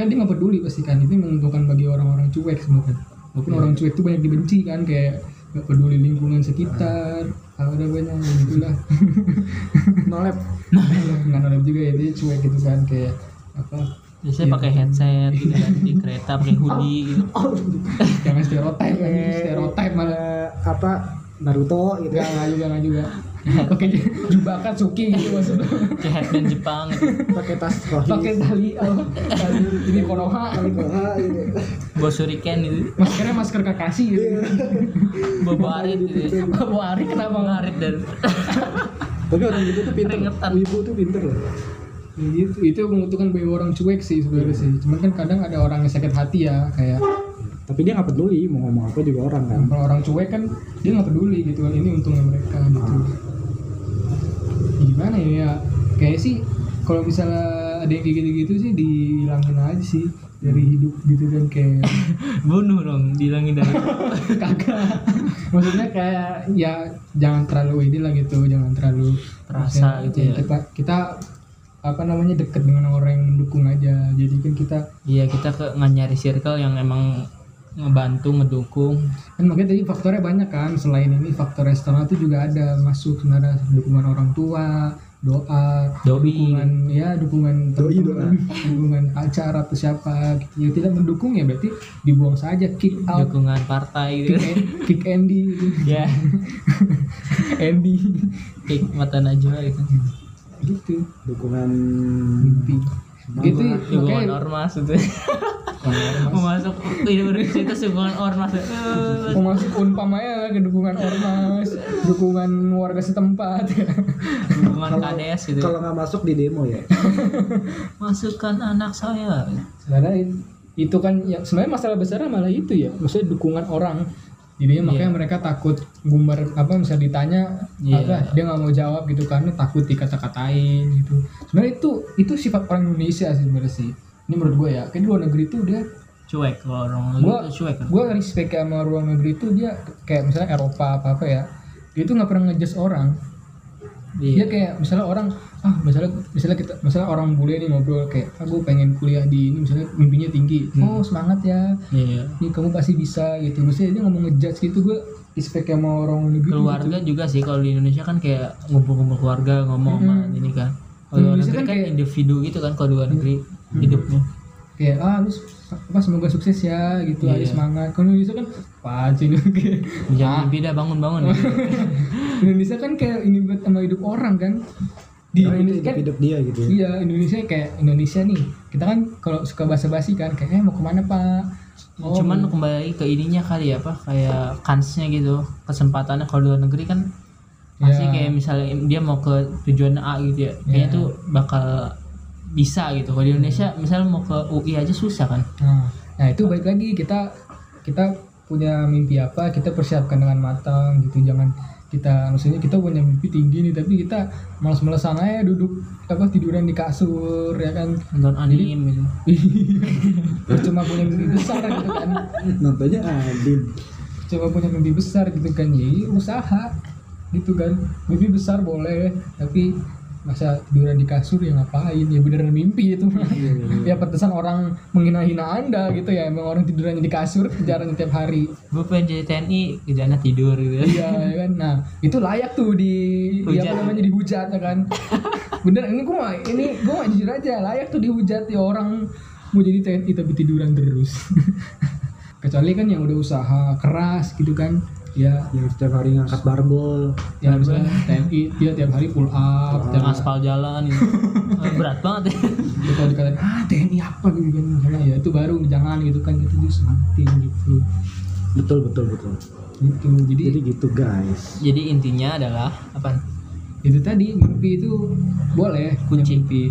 kan dia nggak peduli pasti kan itu menguntungkan bagi orang-orang cuek sebenarnya walaupun Iya. orang cuek tuh banyak dibenci kan kayak nggak peduli lingkungan sekitar Nah. ada banyak (laughs) gitulah nolep Nah. nggak nolak juga ya dia cuek gitu kan kayak apa Biasanya pakai headset gitu kan di kereta (laughs) pakai hoodie gitu. jangan stereotip Iya. anjing, stereotip malah Oh. Eh, apa Naruto gitu Enggak, enggak juga, enggak juga. Pakai ju- jubah Katsuki gitu maksudnya. Kayak headband Jepang gitu. pakai tas kohi Pakai tali apa? Tali ini konoha. koha gitu Bawa shuriken gitu. Maskernya masker Kakashi gitu. Bawa arit (laughs) gitu. Bawa Ari kenapa enggak? Pengarit dan (laughs) tapi orang gitu tuh pinter Keringetan. wibu tuh pinter loh Ya gitu, itu menguntungkan bagi orang cuek sih sebenarnya sih. Cuman kan kadang ada orang yang sakit hati ya, kayak tapi dia nggak peduli mau ngomong apa juga orang kan kalau orang cuek kan dia nggak peduli gitu kan. Ini untungnya mereka gitu. Ya Gimana ya? ya? Kayak sih kalau misalnya ada yang kayak gitu-gitu sih dihilangin aja sih dari hidup gitu kan kayak bunuh dong, dilangin dari. (laughs) kagak maksudnya kayak ya jangan terlalu inilah gitu jangan terlalu Terasa maksudnya, gitu ya. kita kita apa namanya deket dengan orang yang mendukung aja jadi kan kita Iya kita ke nggak nyari circle yang emang ngebantu ngedukung kan makanya tadi faktornya banyak kan selain ini faktor eksternal itu juga ada masuk sebenarnya dukungan orang tua doa doi dukungan ya dukungan Doi, teman, (laughs) dukungan pacar atau siapa gitu ya tidak mendukung ya berarti dibuang saja kick (laughs) out dukungan partai gitu (laughs) kick, and, kick Andy gitu. ya Andy kick mata najwa gitu gitu dukungan mimpi gitu dukungan makanya ormas itu masuk universitas dukungan ormas Eh, mau masuk unpam aja ke dukungan ormas dukungan warga setempat dukungan kds Hmm. gitu kalau nggak masuk di demo ya masukkan anak saya gitu. sebenarnya itu kan ya sebenarnya masalah besarnya malah itu ya maksudnya dukungan orang jadinya makanya mereka takut gumbar apa misalnya ditanya Iya. apa, dia nggak mau jawab gitu karena takut dikata-katain gitu sebenarnya itu itu sifat orang Indonesia sih sebenarnya sih ini menurut gue ya kayak di luar negeri tuh dia cuek kalau orang gua itu cuek kan gua respect sama ruang negeri itu dia kayak misalnya Eropa apa apa ya dia itu nggak pernah ngejudge orang dia iya kayak misalnya orang ah misalnya misalnya kita misalnya orang bule nih ngobrol kayak ah gue pengen kuliah di ini misalnya mimpinya tinggi Hmm. oh semangat ya iya ini kamu pasti bisa gitu maksudnya dia ngomong ngejudge gitu gue respect sama orang negeri gitu. keluarga juga sih kalau di Indonesia kan kayak ngumpul-ngumpul keluarga ngomong sama Mm-mm. ini kan kalau di luar Indonesia negeri kan kan kayak- individu gitu kan kalau di luar negeri hidupnya kayak ah lu s- apa semoga sukses ya gitu ayo Iya. semangat kalau Indonesia kan pancing kayak Nah. jangan mimpi dah bangun-bangun (laughs) gitu. Indonesia kan kayak ini buat sama hidup orang kan di Karena itu Indonesia kan hidup dia gitu ya Iya Indonesia kayak Indonesia nih kita kan kalau suka basa-basi kan kayak eh mau kemana pak? Oh, cuman kembali ke ininya kali ya apa kayak kansnya gitu kesempatannya kalau di luar negeri kan Ya. pasti kayak misalnya dia mau ke tujuan A gitu ya kayaknya Ya. tuh bakal bisa gitu kalau di Indonesia misalnya mau ke UI aja susah kan nah, nah, itu balik lagi kita kita punya mimpi apa kita persiapkan dengan matang gitu jangan kita maksudnya kita punya mimpi tinggi nih tapi kita malas-malasan aja duduk apa tiduran di kasur ya kan (laughs) nonton anime gitu cuma punya mimpi besar gitu kan nontonnya Adin coba punya mimpi besar gitu kan jadi usaha gitu kan mimpi besar boleh tapi masa tiduran di kasur ya ngapain ya beneran mimpi itu (laughs) ya pantesan orang menghina-hina anda gitu ya emang orang tidurannya di kasur jarang tiap hari gue pengen jadi TNI kerjanya tidur (laughs) gitu ya iya ya kan nah itu layak tuh di di apa Hujat. namanya dihujat ya kan bener ini gua ini gua jujur aja layak tuh dihujat ya orang mau jadi TNI tapi tiduran terus (laughs) kecuali kan yang udah usaha keras gitu kan ya yang setiap hari ngangkat barbel ya misalnya TNI dia tiap hari pull up tiap yang aspal jalan (laughs) gitu Ah, berat banget ya (laughs) gitu kalau dikatain ah TNI apa gitu kan misalnya ya itu baru jangan gitu kan gitu dia semangatin gitu betul betul betul gitu jadi, jadi gitu guys jadi intinya adalah apa itu tadi mimpi itu boleh Kunci. punya mimpi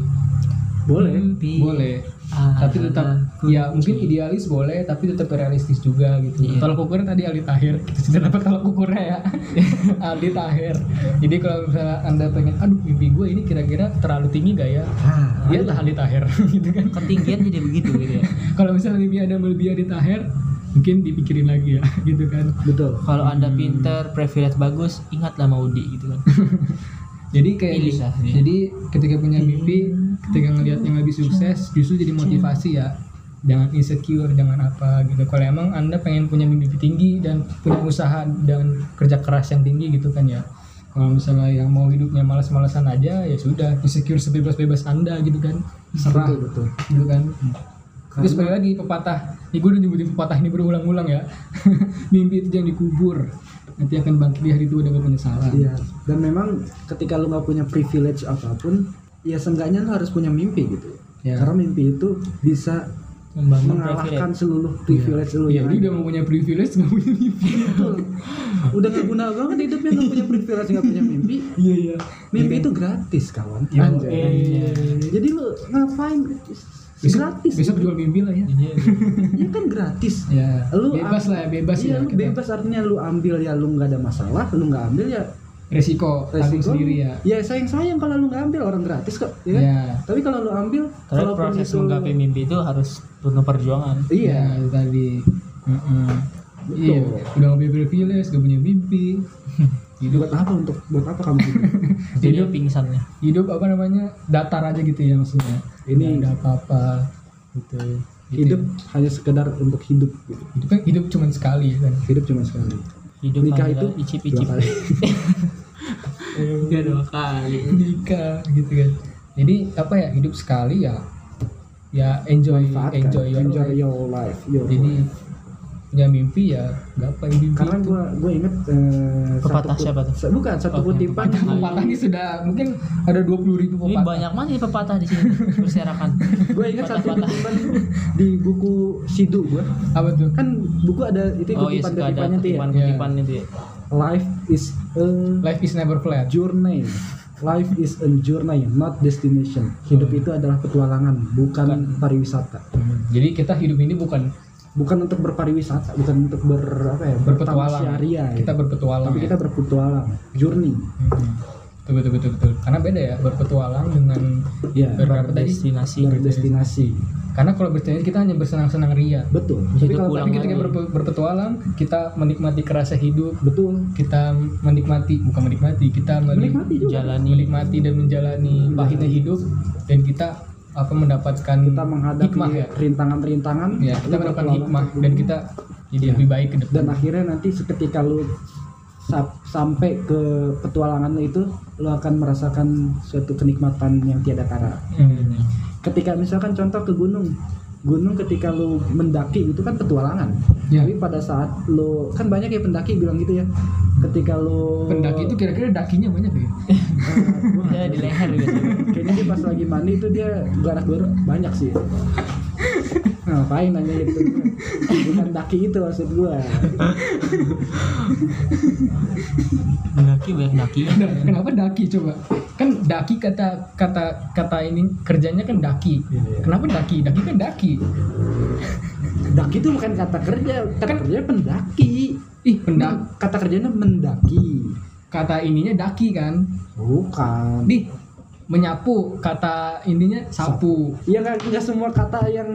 boleh mimpi boleh Ah, tapi tetap ya mungkin idealis boleh tapi tetap realistis juga gitu Iya. kalau ukur tadi Ali Tahir kita sudah dapat kalau ukurnya (laughs) ya Ali Tahir jadi kalau misalnya anda pengen aduh mimpi gue ini kira-kira terlalu tinggi gak ya ah dia Ali Tahir (laughs) gitu kan ketinggian jadi begitu gitu ya kalau misalnya mimpi ada melebihi Ali Tahir mungkin dipikirin lagi ya (laughs) gitu kan betul kalau anda Hmm. pinter privilege bagus ingatlah mau di gitu kan jadi kayak Pilih lah, iya. jadi ketika punya mimpi ketika ngelihat yang lebih sukses justru jadi motivasi ya jangan insecure jangan apa gitu kalau emang anda pengen punya mimpi tinggi dan punya usaha dan kerja keras yang tinggi gitu kan ya kalau misalnya yang mau hidupnya malas-malasan aja ya sudah insecure sebebas-bebas anda gitu kan serah betul betul gitu kan terus balik lagi pepatah ini gue udah nyebutin pepatah ini berulang-ulang ya (laughs) mimpi itu jangan dikubur nanti akan bangkit di hari itu dengan penyesalan Iya, dan memang ketika lu nggak punya privilege apapun, ya seenggaknya lu harus punya mimpi gitu. Ya. Karena mimpi itu bisa membangun mengalahkan privilege seluruh privilege lu Iya, ya. yang dia ada. udah mau punya privilege nggak punya (laughs) mimpi. Betul. Udah nggak guna banget hidupnya nggak punya privilege nggak punya mimpi. Iya iya. Mimpi itu gratis kawan. Iya. Jadi lu ngapain? Besok, Gratis. besok jual mimpi lah ya. Iya, Ya kan gratis. Ya. Lu bebas am- lah ya, bebas Iya, ya. lu kita. bebas artinya lu ambil ya lu nggak ada masalah, lu nggak ambil ya Resiko, tanggung resiko. sendiri ya. Ya sayang sayang kalau lu nggak ambil orang gratis kok. Ya kan? Ya. Tapi kalau lu ambil, Karena kalau proses menggapai mimpi itu harus penuh perjuangan. Iya, Iya, itu tadi. Mm-mm. Betul. Iya, udah nggak punya privilege, nggak punya mimpi. buat Hidup, Gitu. apa untuk buat apa kamu (laughs) hidup? Jadi Hidup. pingsannya. hidup apa namanya datar aja gitu ya maksudnya. nggak Ini- ada apa-apa gitu. Gitu. hidup hanya sekedar untuk hidup gitu. hidup kan hidup cuma sekali kan. Hidup cuma sekali. Hidup Nikah itu adalah icip-icip. dua (laughs) kali. Iya dua kali. nikah gitu kan jadi apa ya hidup sekali ya ya enjoy Manfaatkan. enjoy your enjoy life. your life. Your jadi life. punya mimpi ya gapai mimpi karena itu. gua gua inget eh, Pepatah satu kut- siapa tuh? sa- Bukan satu Oh, kutipan. pepatah. pepatah ini sudah mungkin ada 20.000 ribu Ini pepatah banyak banget nih pepatah di sini berserakan. Gua inget satu Pepatah-pepatah. kutipan di buku Sidu gua. apa tuh Kan buku ada itu Oh iya, kutipan suka ada kutipannya tuh ya. kutipan-kutipan itu ya. Life is a life is never flat journey. Life is a journey, not destination. Oh, Hidup iya. itu adalah petualangan, bukan pariwisata. Hmm, jadi kita hidup ini bukan Bukan untuk berpariwisata, bukan untuk ber apa ya, berpetualang bertamasyaria ya. kita berpetualang tapi ya. kita berpetualang, journey. Hmm. Betul, betul, betul, betul. Karena beda ya berpetualang dengan ya Berapa tadi? destinasi berdestinasi karena kalau bertanya kita hanya bersenang-senang ria. betul Tapi Hidup kalau ulang tadi ketika lagi. berpe- berpetualang, kita menikmati kerasa hidup, betul kita menikmati bukan menikmati, kita meli- menikmati juga jalani menikmati dan menjalani pahitnya hidup dan kita apa mendapatkan kita menghadapi hikmah ya. rintangan-rintangan Ya, kita lu mendapatkan berpetualang hikmah ke dan gunung. kita jadi Ya. lebih baik ke dan depan. akhirnya nanti seketika lu sap- sampai ke petualangan lu itu lu akan merasakan suatu kenikmatan yang tiada tara Hmm. ketika misalkan contoh ke gunung gunung ketika lu mendaki itu kan petualangan Ya. tapi pada saat lu kan banyak ya pendaki bilang gitu ya ketika lu eh, Pendaki itu kira-kira dakinya banyak ya. Iya. (laughs) ya di leher gitu kayaknya dia pas lagi mandi itu dia garak garuk banyak (laughs) sih ngapain nanya itu bukan daki itu maksud gua daki banyak daki Nah, (laughs) kenapa daki coba? Kan daki kata kata kata ini kerjanya kan daki. Iya, iya. Kenapa daki? Daki kan daki. daki itu bukan kata kerja kata Kan- kerja pendaki Ih, pendak Nah, kata kerjanya mendaki kata ininya daki kan. bukan Di menyapu kata ininya sapu. ya nggak nggak semua kata yang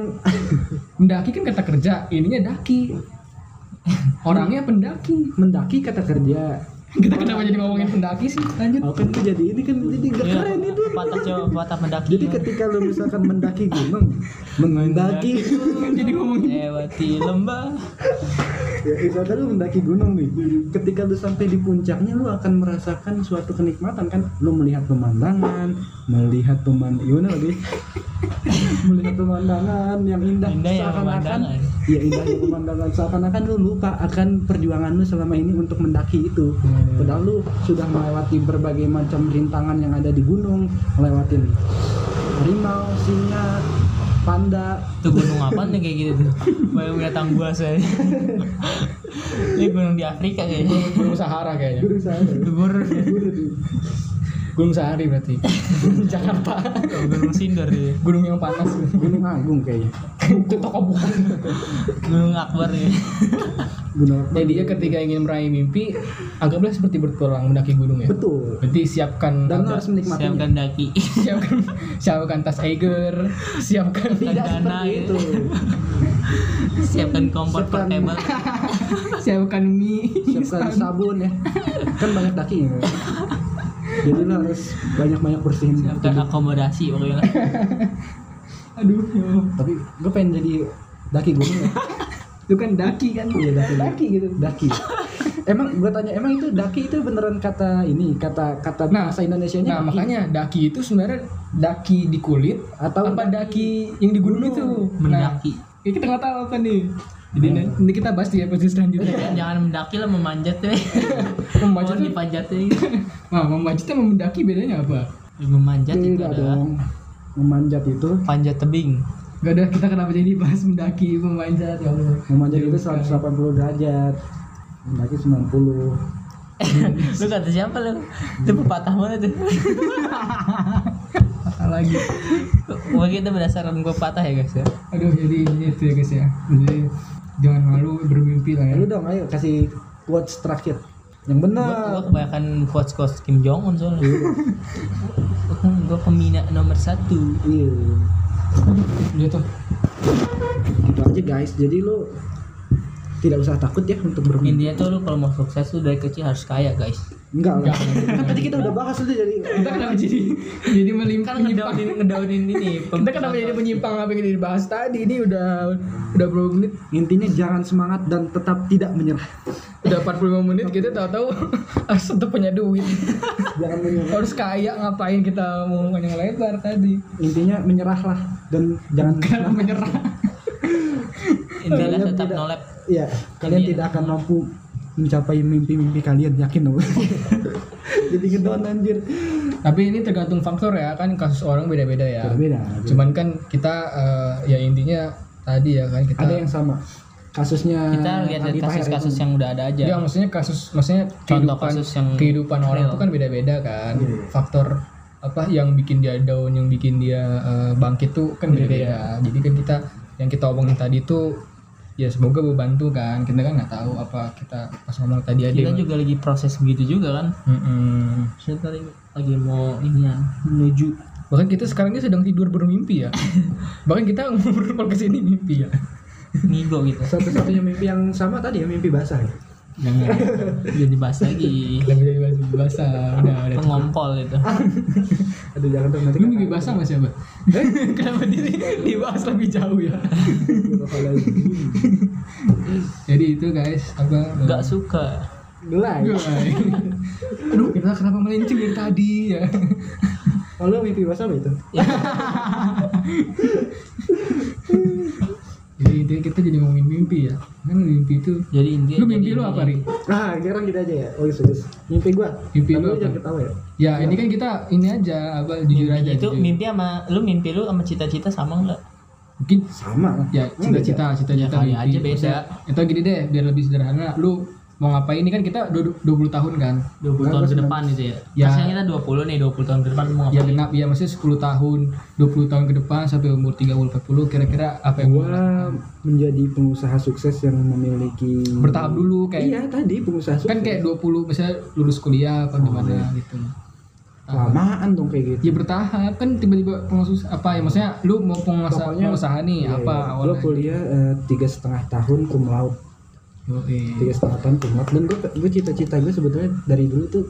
(laughs) Mendaki kan kata kerja, ininya daki. (laughs) Orangnya pendaki. mendaki kata kerja Kita kenapa jadi ngomongin pendaki sih? Lanjut. oh kan itu jadi ini kan jadi gak Iya, keren itu patah coba patah mendaki jadi ketika lu misalkan mendaki gunung mendaki (laughs) Jadi ngomongin lewati lembah ya misalkan lu mendaki gunung nih ketika lu sampai di puncaknya lu akan merasakan suatu kenikmatan kan lu melihat pemandangan melihat iya pemandangan you know deh (laughs) melihat pemandangan yang indah Indah ya seakan-akan pemandangan. ya indahnya pemandangan seakan-akan lu lupa akan perjuangan lu selama ini untuk mendaki itu Iya, Hmm. padahal lu sudah melewati berbagai macam rintangan yang ada di gunung melewatin harimau singa panda itu gunung apa nih kayak gitu tuh banyak binatang buas saya (laughs) ini gunung di Afrika kayaknya Gunung Sahara Iya. kayaknya. guru saya Dubur, guru tuh. Gunung Sahari berarti. Jakarta. gunung Sindor ya. Gunung yang panas. gunung agung kayaknya Itu toko buku. gunung Akbar ya. gunung agung Jadi dia ketika ingin meraih mimpi, anggaplah seperti bertualang mendaki gunung ya. betul Berarti siapkan dan lu apa? harus menikmatinya siapkan daki (laughs) siapkan siapkan tas Eiger, siapkan tidak Dana seperti ya. itu siapkan kompor Siapkan- portable siapkan mie. siapkan sabun ya kan banyak daki ya jadi lu harus banyak-banyak bersihin siapkan tubuh. akomodasi pokoknya Aduh, ya Allah. tapi gue pengen jadi daki gunung ya itu kan daki kan? Iya, daki. gitu. daki emang gue tanya emang itu daki itu beneran kata ini kata kata Nah, bahasa Indonesia nya Nah makanya daki itu sebenarnya daki di kulit Atau apa daki yang di gunung itu? Nah, mendaki ya kita nggak tahu apa nih. Jadi nanti ini kita bahas di episode selanjutnya. (laughs) jangan, jangan mendaki lah memanjat deh Memanjat Mohon tuh- dipanjatnya gitu. nah, memanjat sama mendaki bedanya apa? Eh, memanjat itu tidak adalah Iya, dong memanjat itu panjat tebing Gak ada kita kenapa jadi bahas mendaki memanjat ya Allah. memanjat itu Bukan. 180 derajat mendaki 90 lu kata siapa lu itu pepatah mana tuh Apa lagi? Wah kita berdasarkan gue patah ya guys ya Aduh jadi ini itu ya guys ya. Jadi jangan malu bermimpi lah ya. lu dong ayo kasih quotes terakhir yang Gue benar kebanyakan quotes quotes Kim Jong Un soalnya Gue pembina nomor satu iya Udah tuh. gitu aja guys jadi lu tidak usah takut ya untuk bermimpi Intinya tuh lu kalau mau sukses tuh dari kecil harus kaya guys enggak lah Enggak. kan tadi kita udah bahas itu jadi Kita kenapa jadi (laughs) jadi melimpah Kan ngedaunin ngedaunin ini Kita kenapa jadi penyimpang apa yang jadi dibahas tadi? Ini udah udah berapa menit? intinya jangan semangat dan tetap tidak menyerah Udah 45 menit kita tahu-tahu (laughs) harus tetap punya duit. jangan menyerah Harus kaya ngapain kita mau panjang lebar tadi? intinya menyerahlah dan jangan Kenapa menyerah? Intinya Kalian tetap tidak- nolep Iya, kalian Ini- tidak akan mampu mencapai mimpi-mimpi kalian yakin dong. Jadi ngedown anjir. Tapi ini tergantung faktor ya kan kasus orang beda-beda ya. Berbeda. Cuman kan kita eh, ya intinya tadi ya kan kita ada yang sama. Nah, Kasusnya Kita lihat dari Aldi Taher kasus-kasus itu. yang udah ada aja Ya, maksudnya kasus, maksudnya Iya, Contoh kehidupan, kasus yang kehidupan orang real. itu kan beda-beda kan. Iya. Faktor apa yang bikin dia down, yang bikin dia eh, bangkit tuh kan beda-beda. Jadi kan kita yang kita omongin tadi tuh ya semoga membantu kan. Kita kan nggak tahu apa kita pas ngomong tadi ada. Kita yang- juga lagi proses begitu juga kan Mm-mm. Maksudnya tadi- lagi mau ini ya menuju Bahkan kita sekarang ini sedang tidur bermimpi ya. (laughs) Bahkan kita ngobrol ke sini mimpi ya. nigo gitu Satu-satunya mimpi yang sama tadi ya mimpi basah. ya? jangan jadi bahas lagi (laughs) Lebih dari bahasa bahasa udah udah. cukup. pengompol itu Aduh jangan dong nanti Lu mimpi (laughs) basah Mas (laughs) siapa? Kenapa di dibahas lebih jauh ya? Jadi itu guys, apa eh, nggak suka Gelai. Guys. (laughs) Aduh, kita kenapa melenceng dari tadi ya? Oh lu mimpi basah apa itu? Jadi intinya kita jadi ngomongin mimpi ya. Kan mimpi itu jadi intinya Lu mimpi jadi lu ini. apa, Ri? Nah sekarang kita aja ya. Oh yes, yes. Mimpi gua. Mimpi Tapi lu lu apa? jangan ketawa ya. Ya, ini kan kita ini aja apa jujur aja itu jujur. mimpi sama lu mimpi lu sama cita-cita sama nggak Mungkin Sama lah. ya cita-cita cita-cita Ya, kali mimpi. aja beda. Maksudnya, Atau gini deh, biar lebih sederhana, lu mau ngapain ini kan kita du- 20 tahun kan? 20 tahun ke depan itu ya. Ya. Maksudnya kita 20 nih, 20 tahun ke depan mau Ya ngapain? genap ya maksudnya 10 tahun, 20 tahun ke depan sampai umur 30 40 kira-kira apa yang lu Gua menjadi pengusaha sukses yang memiliki bertahap dulu kayak Iya tadi pengusaha sukses. kan kayak 20 misalnya lulus kuliah apa gimana gitu. lamaan dong kayak Ya gitu. bertahap kan tiba-tiba pengusaha apa ya maksudnya lu mau pengusaha Pokoknya- iya, pengusaha nih apa Gue awalnya? kuliah eh, tiga setengah tahun cum laude Yoi. tiga setengah tahun cum laude dan gue gue cita-cita gue sebetulnya dari dulu tuh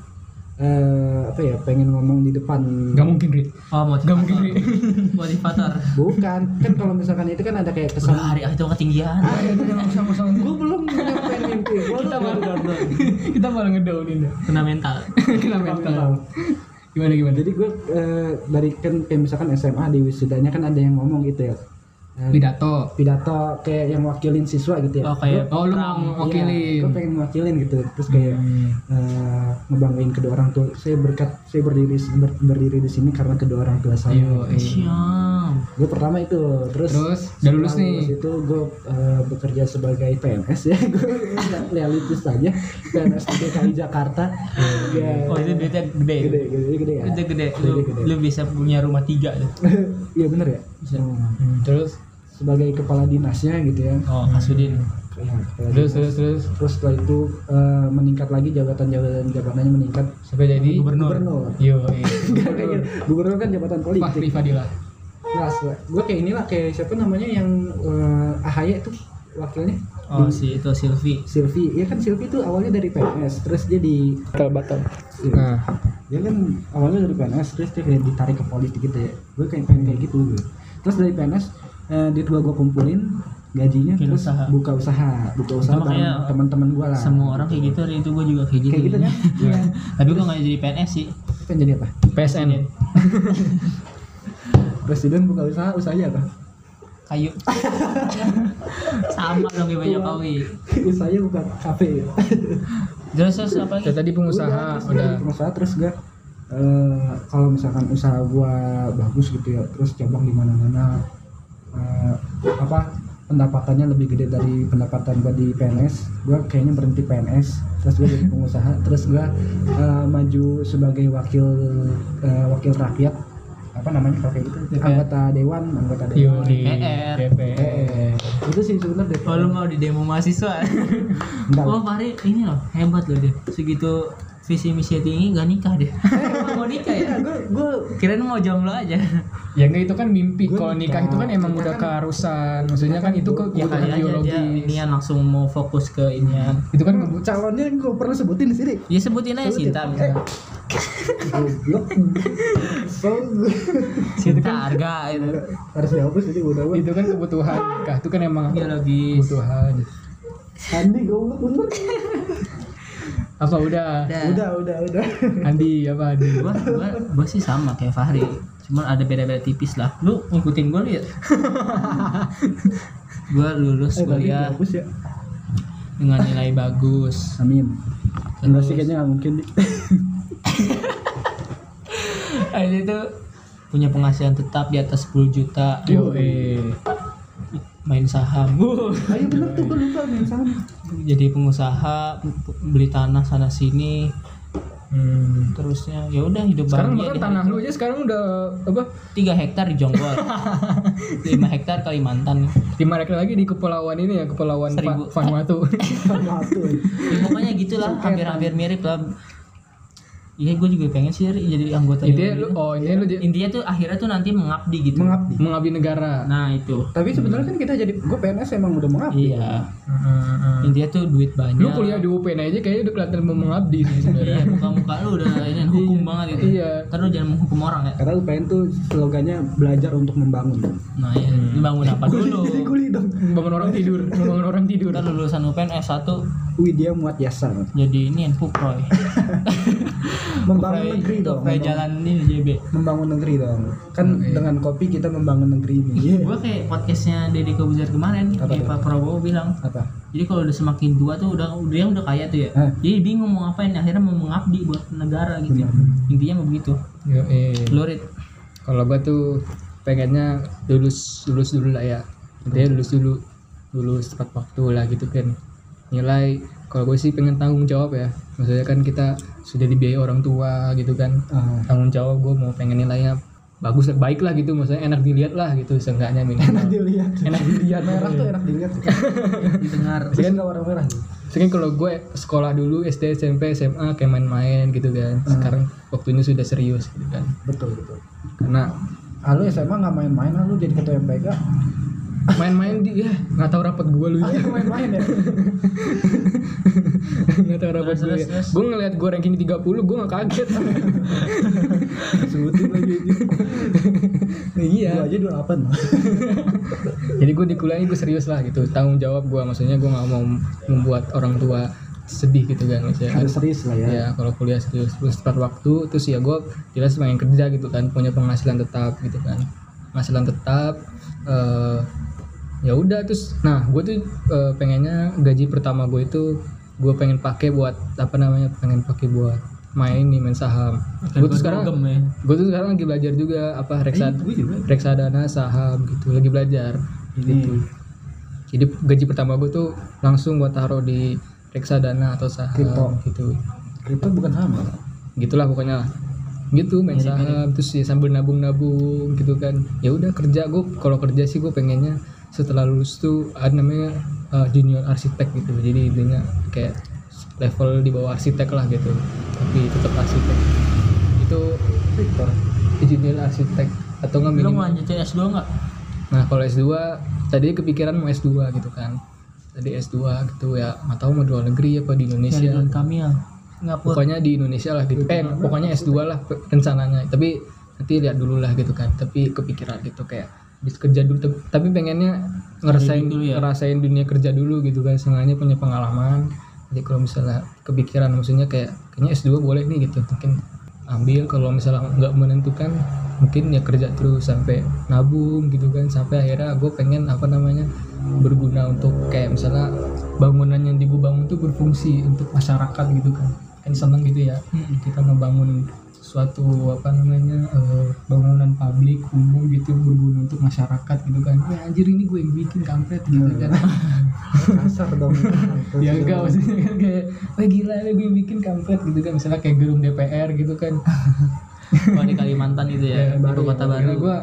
eh, apa ya pengen ngomong di depan Gak mungkin, Rit. Oh, Gak motivator. mungkin, Rit. (laughs) motivator. bukan kan kalau misalkan itu kan ada kayak kesan Udah hari ah, itu ketinggian. Ah, itu jangan usah-usah. gue belum nyampe mimpi gue Kita baru download. Kita malah ngedownin (laughs) ya. Kena mental. Kena mental. Gimana gimana? jadi gue eh, dari kan kayak misalkan SMA di wisudanya kan ada yang ngomong gitu ya Eh, Pidato. pidato kayak yang wakilin siswa gitu ya Oh, kayak Oh, lu Trump. mau wakilin. gue Iya, pengen wakilin gitu terus kayak Hmm. eh, ngebanggain kedua orang tua saya berkat saya berdiri ber- berdiri di sini karena kedua orang tua saya Ayo, eh. Siam. gue pertama itu terus Terus, udah lulus setelah nih. itu gue bekerja sebagai PNS ya (laughs) gue realitis saja PNS di DKI Jakarta ya Oh, itu duitnya gede. gede gede gede ya Duitnya gede. Lu, gede. lu bisa punya rumah tiga tuh. (laughs) iya bener ya Bisa. Hmm. Hmm, Terus, sebagai kepala dinasnya gitu ya, Oh, Kasudin. Ya, kepala terus, dinas. terus, terus terus setelah itu eh, meningkat lagi jabatan jabatan jabatannya meningkat sampai jadi Gubernur. gubernur (laughs) Yo, gubernur kan jabatan politik Fahri Fadila. nah gue kayak inilah kayak siapa namanya yang eh, AHY itu wakilnya Oh, si itu Silvi. Silvi ya kan Silvi itu awalnya dari PNS terus dia di Batal batal. ya, Nah, dia kan awalnya dari PNS terus dia kayak ditarik ke politik gitu ya gue kayak pengen kayak gitu gue terus dari PNS eh, dia tua gue kumpulin gajinya Bikin terus usaha. buka usaha buka usaha Itu makanya eh, teman- teman-teman gue lah Semua orang kayak gitu, hari itu gue juga kayak gitu. Nah. Kayak gitu kan? Iya. Tapi gue gak jadi PNS sih. pengen jadi apa PSN. presiden buka usaha usahanya apa (laughs) Kayu. (laughs) Sama dong kayak banyak kawi. usahanya buka kafe Terus terus apa Saya lagi? tadi pengusaha terus udah. jadi pengusaha terus gue eh, kalau misalkan usaha gua bagus gitu ya terus cabang di mana-mana eh, apa pendapatannya lebih gede dari pendapatan gua di PNS gua kayaknya berhenti PNS terus gua jadi pengusaha terus gua eh, maju sebagai wakil eh, wakil rakyat apa namanya kalau kayak gitu DPR. anggota dewan anggota Ya, Yo dewan di DPR. DPR. Eh, itu sih sebenarnya DPR. Oh lu mau di demo mahasiswa? Enggak, oh Fahri ini loh hebat loh dia. Segitu visi misi tinggi gak nikah deh. Eh, (laughs) mau nikah ya? gue gue Kirain mau jomblo aja. Ya enggak itu kan mimpi. Gua Kalau nikah nikah. itu gitu. kan emang Kita udah kan- keharusan. Maksudnya kan itu ke ya kali kebutuhan aja dia biologis. inian langsung mau fokus ke inian. Itu kan kebu- calonnya gue pernah sebutin di sini Ya sebutin aja Eh, Sinta misalnya. goblok so Sinta gitu. harga itu. harus dihapus jadi udah gue itu kan kebutuhan nikah. Itu kan emang Biologis. kebutuhan. Andi goblok bener Apa udah? Iya. udah udah udah Andi apa Andi? Gua, gua, gua sih sama kayak Fahri. Cuman ada beda-beda tipis lah. Lu ngikutin gua lu ya? gua lulus eh tadi kuliah dihapus ya dengan nilai bagus. amin enggak Terus. sih kayaknya nggak mungkin Di. Habis itu punya penghasilan tetap di atas 10 juta Yo, eh. main saham Wuh. ayo bener tuh gue lupa main sama jadi pengusaha beli tanah sana sini Hmm. terusnya ya udah hidup Sekarang bahkan bahagia deh. tanah lu aja sekarang udah apa? tiga hektar di Jonggol 5 hektar Kalimantan Lima rekel lagi di kepulauan ini ya, kepulauan Seribu. Fa- (laughs) Vanuatu. sama eh. tuh ya, pokoknya gitulah hampir-hampir mirip lah Iya, gue juga pengen sih Ri, jadi anggota Intinya Dewan lu Pembina. oh intinya lu jadi Intinya tuh akhirnya tuh nanti mengabdi gitu. mengabdi mengabdi negara. Nah itu. tapi sebenarnya kan kita jadi gue PNS emang udah mengabdi Iya. Heeh, heeh. Intinya tuh duit banyak. Lu kuliah di UPN aja kayaknya udah kelihatan mau mengabdi sih sebenarnya. Iya, muka-muka lu udah ini hukum Iya. banget itu. Iya. Ntar lu jangan menghukum orang ya. karena UPN tuh slogannya belajar untuk membangun Nah, iya. Lu bangun apa dulu? jadi kuli dong Bangun orang tidur, bangun orang tidur. Ntar lulusan UPN S1 Widya Muat Yasa jadi ini Puproy. membangun negeri dong Puproy membangun- jalan ini JB. membangun negeri dong kan Oke. dengan kopi kita membangun negeri ini Iya. Gua kayak podcastnya Deddy Kobuzer kemarin, Apa kayak tuh? Pak Prabowo bilang, apa jadi kalau udah semakin tua tuh udah dia udah kaya tuh ya. Eh. Jadi bingung mau ngapain akhirnya mau mengabdi buat negara gitu. Benar. Intinya mau begitu. Yo, eh. Lurit. Kalau gua tuh pengennya lulus lulus dulu lah ya. Intinya lulus dulu, lulus tepat waktu lah gitu kan. Nilai kalau gue sih pengen tanggung jawab ya. Maksudnya kan kita sudah dibiayai orang tua gitu kan. Ah, Tanggung jawab gue mau pengen nilainya bagus lah, baik lah gitu. Maksudnya enak dilihat lah gitu seenggaknya enak minimal. dilihat enak dilihat merah gitu. tuh enak dilihat (laughs) Dengar. terus nggak warna merah Sekarang kan kalau gue sekolah dulu SD SMP SMA kayak main-main gitu kan. Sekarang waktunya sudah serius gitu kan. betul betul Karena ah, lu SMA nggak main-main ah, lu jadi ketua MPK (laughs) main-main dia nggak tahu rapat gue lu ah ya. itu main-main ya nggak tahu rapat Terus, gue. terus, terus. Gue ngeliat gue ranking 30 gue nggak kaget. (laughs) (laughs) sebutin lagi (laughs) iya. Gua aja (laughs) 28 mah Jadi gue di kuliah ini gue serius lah gitu. Tanggung jawab gue maksudnya gue nggak mau membuat orang tua sedih gitu kan maksudnya. harus serius lah ya ya kalau kuliah serius terus tepat waktu terus ya gue jelas pengen kerja gitu kan punya penghasilan tetap gitu kan penghasilan tetap eh, ya udah terus nah gue tuh eh, pengennya gaji pertama gue itu gue pengen pakai buat apa namanya pengen pakai buat main nih main saham gue tuh sekarang Gem, ya. gue tuh sekarang lagi belajar juga apa reksa Eh, gue juga reksadana saham gitu lagi belajar gitu. ini jadi gaji pertama gue tuh langsung gue taruh di reksadana atau saham Kripto. gitu kripto bukan sama gitulah pokoknya lah gitu main Mirip-mirip. saham terus ya sambil nabung-nabung gitu kan ya udah kerja gue kalau kerja sih gue pengennya setelah lulus tuh ada namanya uh, junior arsitek gitu jadi intinya kayak level di bawah arsitek lah gitu tapi tetap arsitek itu kripto junior arsitek atau nggak Lu mau minimal lanjutin S2 nggak? nah kalau S2 tadi kepikiran mau S2 gitu kan tadi S2 gitu ya nggak tahu mau di luar negeri apa di Indonesia Yang kami ya. Singapura. pokoknya di Indonesia lah gitu eh pokoknya S2 lah pe- rencananya tapi nanti lihat dulu lah gitu kan tapi kepikiran gitu kayak habis kerja dulu tep- tapi pengennya ngerasain Jadi dulu ya? ngerasain dunia kerja dulu gitu kan sengaja punya pengalaman jadi kalau misalnya kepikiran maksudnya kayak kayaknya S2 boleh nih gitu mungkin ambil kalau misalnya nggak menentukan mungkin ya kerja terus sampai nabung gitu kan sampai akhirnya gue pengen apa namanya berguna untuk kayak misalnya bangunan yang di gua bangun tuh berfungsi untuk masyarakat gitu kan kan seneng gitu ya Mm-mm. kita ngebangun suatu apa namanya eh, bangunan publik umum gitu berguna untuk masyarakat gitu kan ya anjir ini gue yang bikin kampret gitu Hmm. kan Iya. (laughs) kasar (laughs) dong ya enggak maksudnya kan kayak wah gila ini gue yang bikin kampret gitu kan misalnya kayak gedung DPR gitu (laughs) kan Kalau di Kalimantan itu Ya, ya, di baru kota Kira baru. gua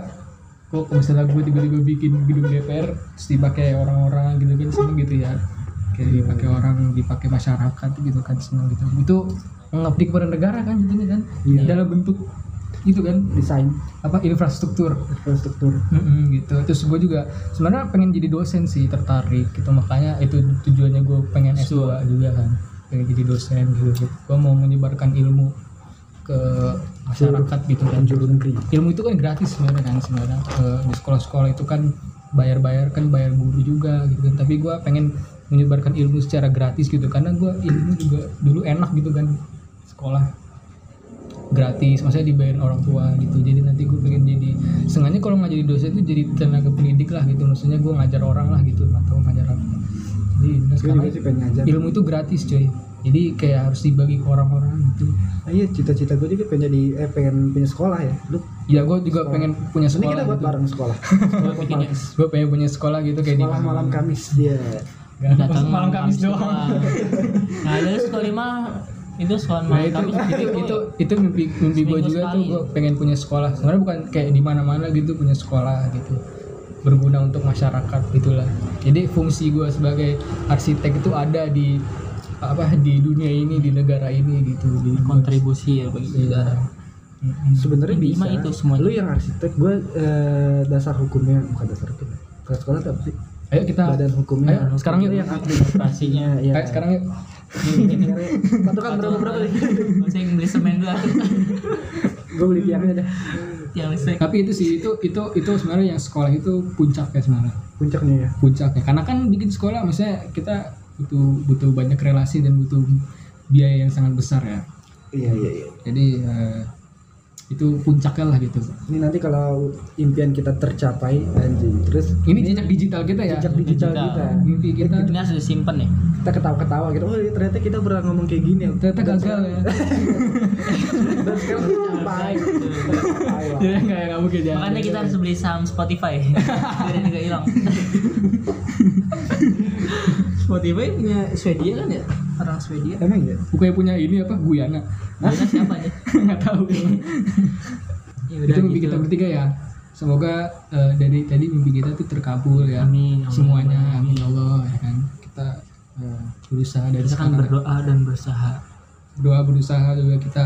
kok misalnya gue tiba-tiba bikin gedung DPR terus dipakai orang-orang gitu kan seneng gitu ya Iya. kayak dipakai orang dipakai masyarakat gitu kan seneng gitu itu mengabdi kepada negara kan jadinya kan Iya. dalam bentuk itu kan desain apa infrastruktur infrastruktur Mm-mm, gitu terus gue juga sebenarnya pengen jadi dosen sih tertarik gitu makanya itu tujuannya gue pengen S2 juga kan pengen jadi dosen gitu, gitu. gue mau menyebarkan ilmu ke masyarakat gitu kan penjuru negeri ilmu itu kan gratis sebenarnya kan sebenarnya Eh, di sekolah-sekolah itu kan bayar-bayar kan bayar guru juga gitu kan tapi gue pengen menyebarkan ilmu secara gratis gitu karena gue ilmu juga dulu enak gitu kan sekolah gratis maksudnya dibayarin orang tua gitu jadi nanti gue pengen jadi sengaja kalau nggak jadi dosen itu jadi tenaga pendidik lah gitu maksudnya gue ngajar orang lah gitu atau ngajar apa jadi nah gue sekarang juga sih pengen ngajar ilmu itu gratis coy jadi kayak harus dibagi ke orang-orang gitu Ah, iya cita-cita gue juga pengen jadi eh pengen punya sekolah ya lu ya gue juga Sekolah. pengen punya ini sekolah kita buat gitu. bareng sekolah Gua bikin ya. gue pengen punya sekolah gitu kayak sekolah di malam Kamis Iya. dia Gak ada Datang malam Kamis doang. doang. (laughs) Nah, dari sekolah lima itu sekolah Nah malam itu Kamis (laughs) itu gitu. itu, itu mimpi mimpi gue Seminggu juga tuh sekali. gue pengen punya sekolah. Sebenarnya bukan kayak di mana-mana gitu punya sekolah gitu berguna untuk masyarakat gitulah. Jadi fungsi gue sebagai arsitek itu ada di apa di dunia ini di negara ini gitu di kontribusi ya bagi negara sebenarnya bisa Minimal itu semua. lu yang arsitek gue eh, dasar hukumnya bukan dasar hukum ya. kelas sekolah tapi sih ayo kita badan hukumnya ayo, sekarang yuk. Lu yang administrasinya ya, ya. Ayo, sekarang yuk (laughs) satu kan berapa berapa nih saya Inggris semen dua gue beli tiangnya dah yang listrik tapi itu sih itu itu itu sebenarnya yang sekolah itu puncaknya sebenarnya puncaknya ya puncaknya karena kan bikin sekolah maksudnya kita butuh butuh banyak relasi dan butuh biaya yang sangat besar ya iya iya iya jadi eh, itu puncaknya lah gitu ini nanti kalau impian kita tercapai anjing terus ini jejak digital kita ya jejak digital, digital. kita mimpi kita ini harus disimpan ya kita ketawa-ketawa gitu oh iya, ternyata kita pernah ngomong kayak gini ya ternyata (laughs) gagal ya dan sekarang tuh ngapain Ngapain jadi lah. Ya, nggak nggak mungkin jadi makanya kita harus beli saham Spotify biar ini nggak hilang Spotify punya Swedia kan ya orang Swedia emang ya bukannya punya ini apa Guyana (laughs) Guyana kan siapa nih nggak tahu ya itu mimpi kita bertiga ya semoga eh, dari tadi mimpi kita tuh terkabul ya Amin, amin. semuanya amin ya Allah ya kan kita eh, berusaha dari kita kan sekarang ya. berdoa dan berusaha doa berusaha juga kita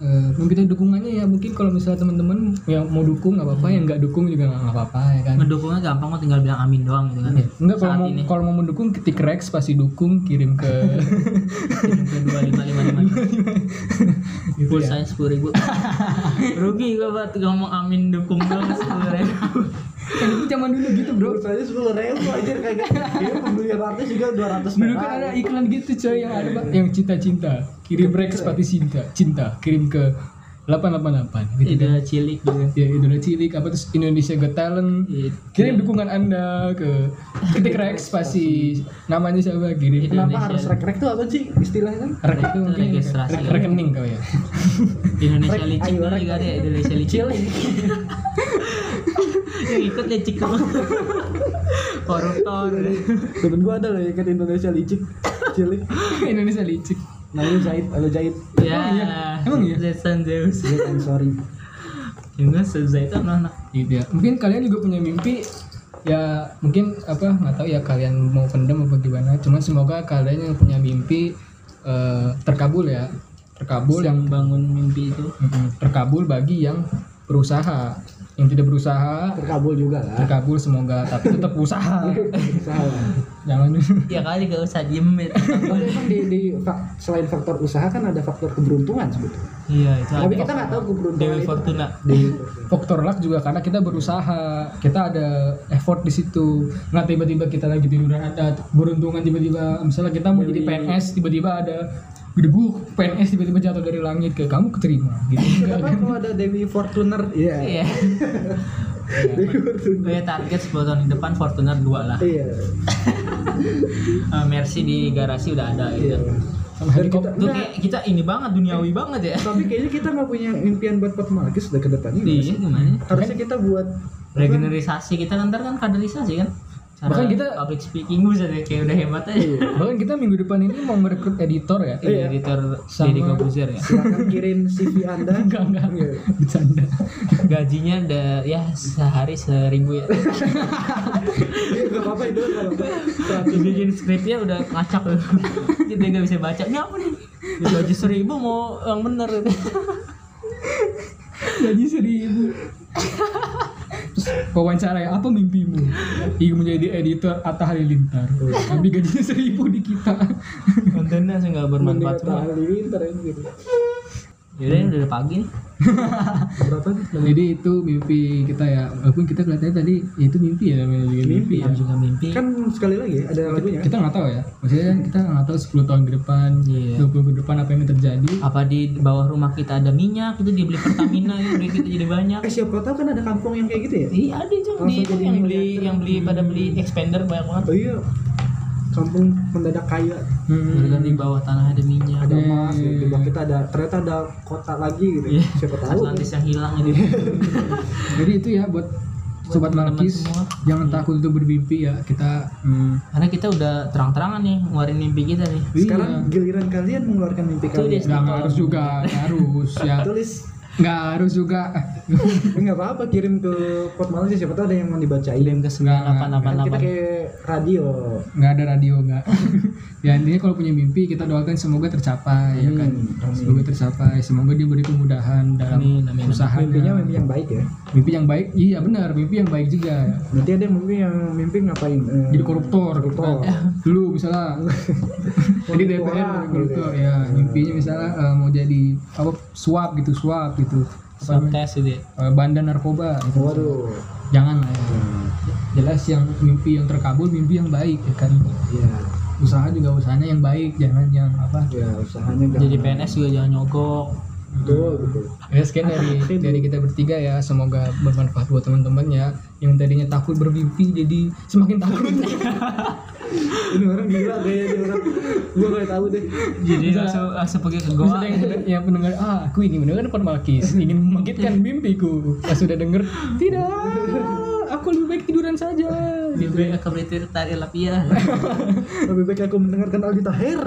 eh, meminta dukungannya ya mungkin kalau misalnya teman-teman yang mau dukung nggak apa-apa yang nggak dukung juga nggak apa-apa ya kan mendukungnya gampang kok tinggal bilang amin doang gitu kan ya Enggak kalau Saat mau ini. kalau mau mendukung ketik Rex pasti dukung kirim (laughs) ke dua lima lima lima gitu ya. pulsanya sepuluh ribu rugi gue buat ngomong amin dukung doang sepuluh ribu Kan itu zaman dulu gitu, Bro. Pulsanya sepuluh ribu aja kagak. Dia pembelian artis juga dua ratus Dulu kan ada iklan gitu coy yang ada Pak, yang cinta-cinta. Kirim Rex pasti cinta, cinta. Kirim ke 888 gitu kan. tidak cilik gitu Ya idola cilik apa terus Indonesia Got Talent. Iya. Kirim dukungan Anda ke ketik Rex pasti namanya siapa kirim. Itu Kenapa Indonesia. harus rek-rek tuh apa sih istilahnya kan? Rek itu mungkin Registrasi. rek- rekening kau ya. Indonesia Rek, licik ayo, dulu rek. Iya, juga ada ya Indonesia licik yang ikut licik dulu. (laughs) koruptor (laughs) Temen gua ada loh ikat Indonesia licik, cilik. (laughs) Indonesia licik. Namanya Zaid, halo Zaid. ya Emang iya? Emang iya? Zetan Zeus Zaid, I'm sorry. juga Zeus itu anak gitu ya mungkin kalian juga punya mimpi ya mungkin apa nggak tahu ya kalian mau pendem apa gimana cuman semoga kalian yang punya mimpi eh, terkabul ya terkabul yang yang bangun mimpi itu Mm-mm, terkabul bagi yang berusaha yang tidak berusaha Terkabul juga lah. terkabul semoga tapi tetap (laughs) usaha Salah. jangan ya kali gak usah diem (laughs) ya. Tapi emang di, di fak- selain faktor usaha kan ada faktor keberuntungan sebetulnya. iya itu Tapi ada. kita nggak tahu keberuntungan Dewi itu. Fortuna Dewi faktor luck juga karena kita berusaha kita ada effort di situ nah tiba-tiba kita lagi tiduran ada beruntungan tiba-tiba misalnya kita mau jadi PNS tiba-tiba ada gedebuk PNS tiba-tiba jatuh dari langit ke kamu keterima (laughs) gitu Kenapa kalau ada Dewi Fortuner? Iya. iya Dewi Fortuner. Gue target 10 tahun ke depan Fortuner 2 lah Iya. Eh, Mercy di garasi udah ada Iya. gitu sama Dan kita, helikopter Itu Nggak. kayak kita ini banget duniawi banget ya tapi kayaknya kita nggak punya impian buat Potmalkis udah ke depannya. iya gimana Harusnya kita buat regenerisasi kita kan ntar kan kaderisasi kan Cara Bahkan kita- public speaking gue deh kayak udah hebat aja Iya. bahkan kita minggu depan ini mau merekrut editor ya (laughs) Ini editor Deddy Sama- Corbuzier ya silakan kirim CV Anda. Iya. enggak enggak bercanda gajinya ada ya sehari seribu ya Enggak apa-apa itu enggak apa-apa. bikin skripnya udah ngacak loh kita nggak bisa baca ini apa nih gaji seribu mau yang bener gaji seribu terus wawancara ya apa mimpimu ingin menjadi editor Atta Halilintar tapi gajinya seribu di kita kontennya sih nggak Mending bermanfaat semua Halilintar anjir. yaudah udah pagi nih Berapa nih? jadi itu mimpi kita ya walaupun kita kelihatannya tadi ya itu mimpi ya namanya juga mimpi, ya. Jam Iya. juga mimpi Kan sekali lagi ada lagunya. kita nggak tahu ya maksudnya kita nggak tahu 10 tahun ke depan Iya. 20 tahun ke depan apa yang terjadi apa di bawah rumah kita ada minyak itu dibeli Pertamina ya duit kita jadi banyak Eh siapa tahu kan ada kampung yang kayak gitu ya? iya ada juga di itu yang beli yang beli pada beli expander banyak banget Oh iya. Kampung mendadak kaya. Gara-gara di bawah tanah ada minyak Ada Hmm. emas, ya. di bawah kita ada ternyata ada kota lagi gitu. Iya. Siapa tahu. Atlantis yang hilang ini jadi itu ya buat sobat teman-teman Malkis semua. jangan takut untuk bermimpi ya kita hmm, karena kita udah terang-terangan nih ngeluarin mimpi kita nih Sekarang iya. giliran kalian mengeluarkan mimpi kalian. Tulis. nggak nggak harus juga nggak harus ya Tulis nggak harus juga Eh, nggak apa-apa kirim ke Port Malaysia siapa tahu ada yang mau dibacain kirim ke 9888 kita kayak radio nggak ada radio nggak (laughs) ya intinya kalau punya mimpi kita doakan semoga tercapai ya kan Amin, amin. semoga tercapai semoga diberi kemudahan dalam Amin, amin, amin. usahanya mimpinya mimpi yang baik ya mimpi yang baik iya benar mimpi yang baik juga nanti ada yang mimpi yang mimpi ngapain Eh, jadi koruptor gitu koruptor kan. dulu misalnya jadi DPR Koruptoran jadi gitu koruptor ya mimpinya misalnya eh, mau jadi apa suap gitu suap gitu swab test gitu ya. Eh, bandar narkoba gitu. waduh jangan lah ya. jelas yang mimpi yang terkabul mimpi yang baik ya kan ya usaha juga usahanya yang baik jangan yang apa ya usahanya nggak- jadi PNS juga jangan nyogok betul betul Ya sekian dari dari kita bertiga ya. Semoga bermanfaat buat teman-teman ya. Yang tadinya takut bermimpi jadi semakin takut. ini orang gila kayaknya dia orang gua nggak tahu deh jadi langsung langsung pergi ke Bisa goa ada yang, yang mendengar ah aku ingin mendengar Malkis ingin membangkitkan mimpiku. Pas sudah dengar tidak, aku lebih baik tiduran saja. Lebih baik aku beli tir- tari lapia lebih baik aku mendengarkan Aldi Tahir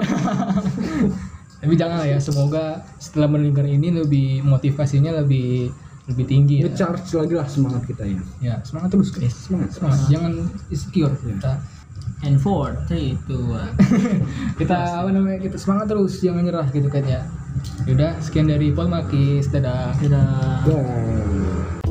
Tapi jangan lah ya. Semoga setelah mendengar ini lebih motivasinya lebih lebih tinggi ya. ngecharge lagi lah semangat kita ya Ya semangat terus guys. Semangat, semangat. Jangan insecure. Kita and four three two one kita apa namanya kita semangat terus jangan nyerah gitu kan ya yaudah sekian dari Paul Makis dadah Dadah. Dah.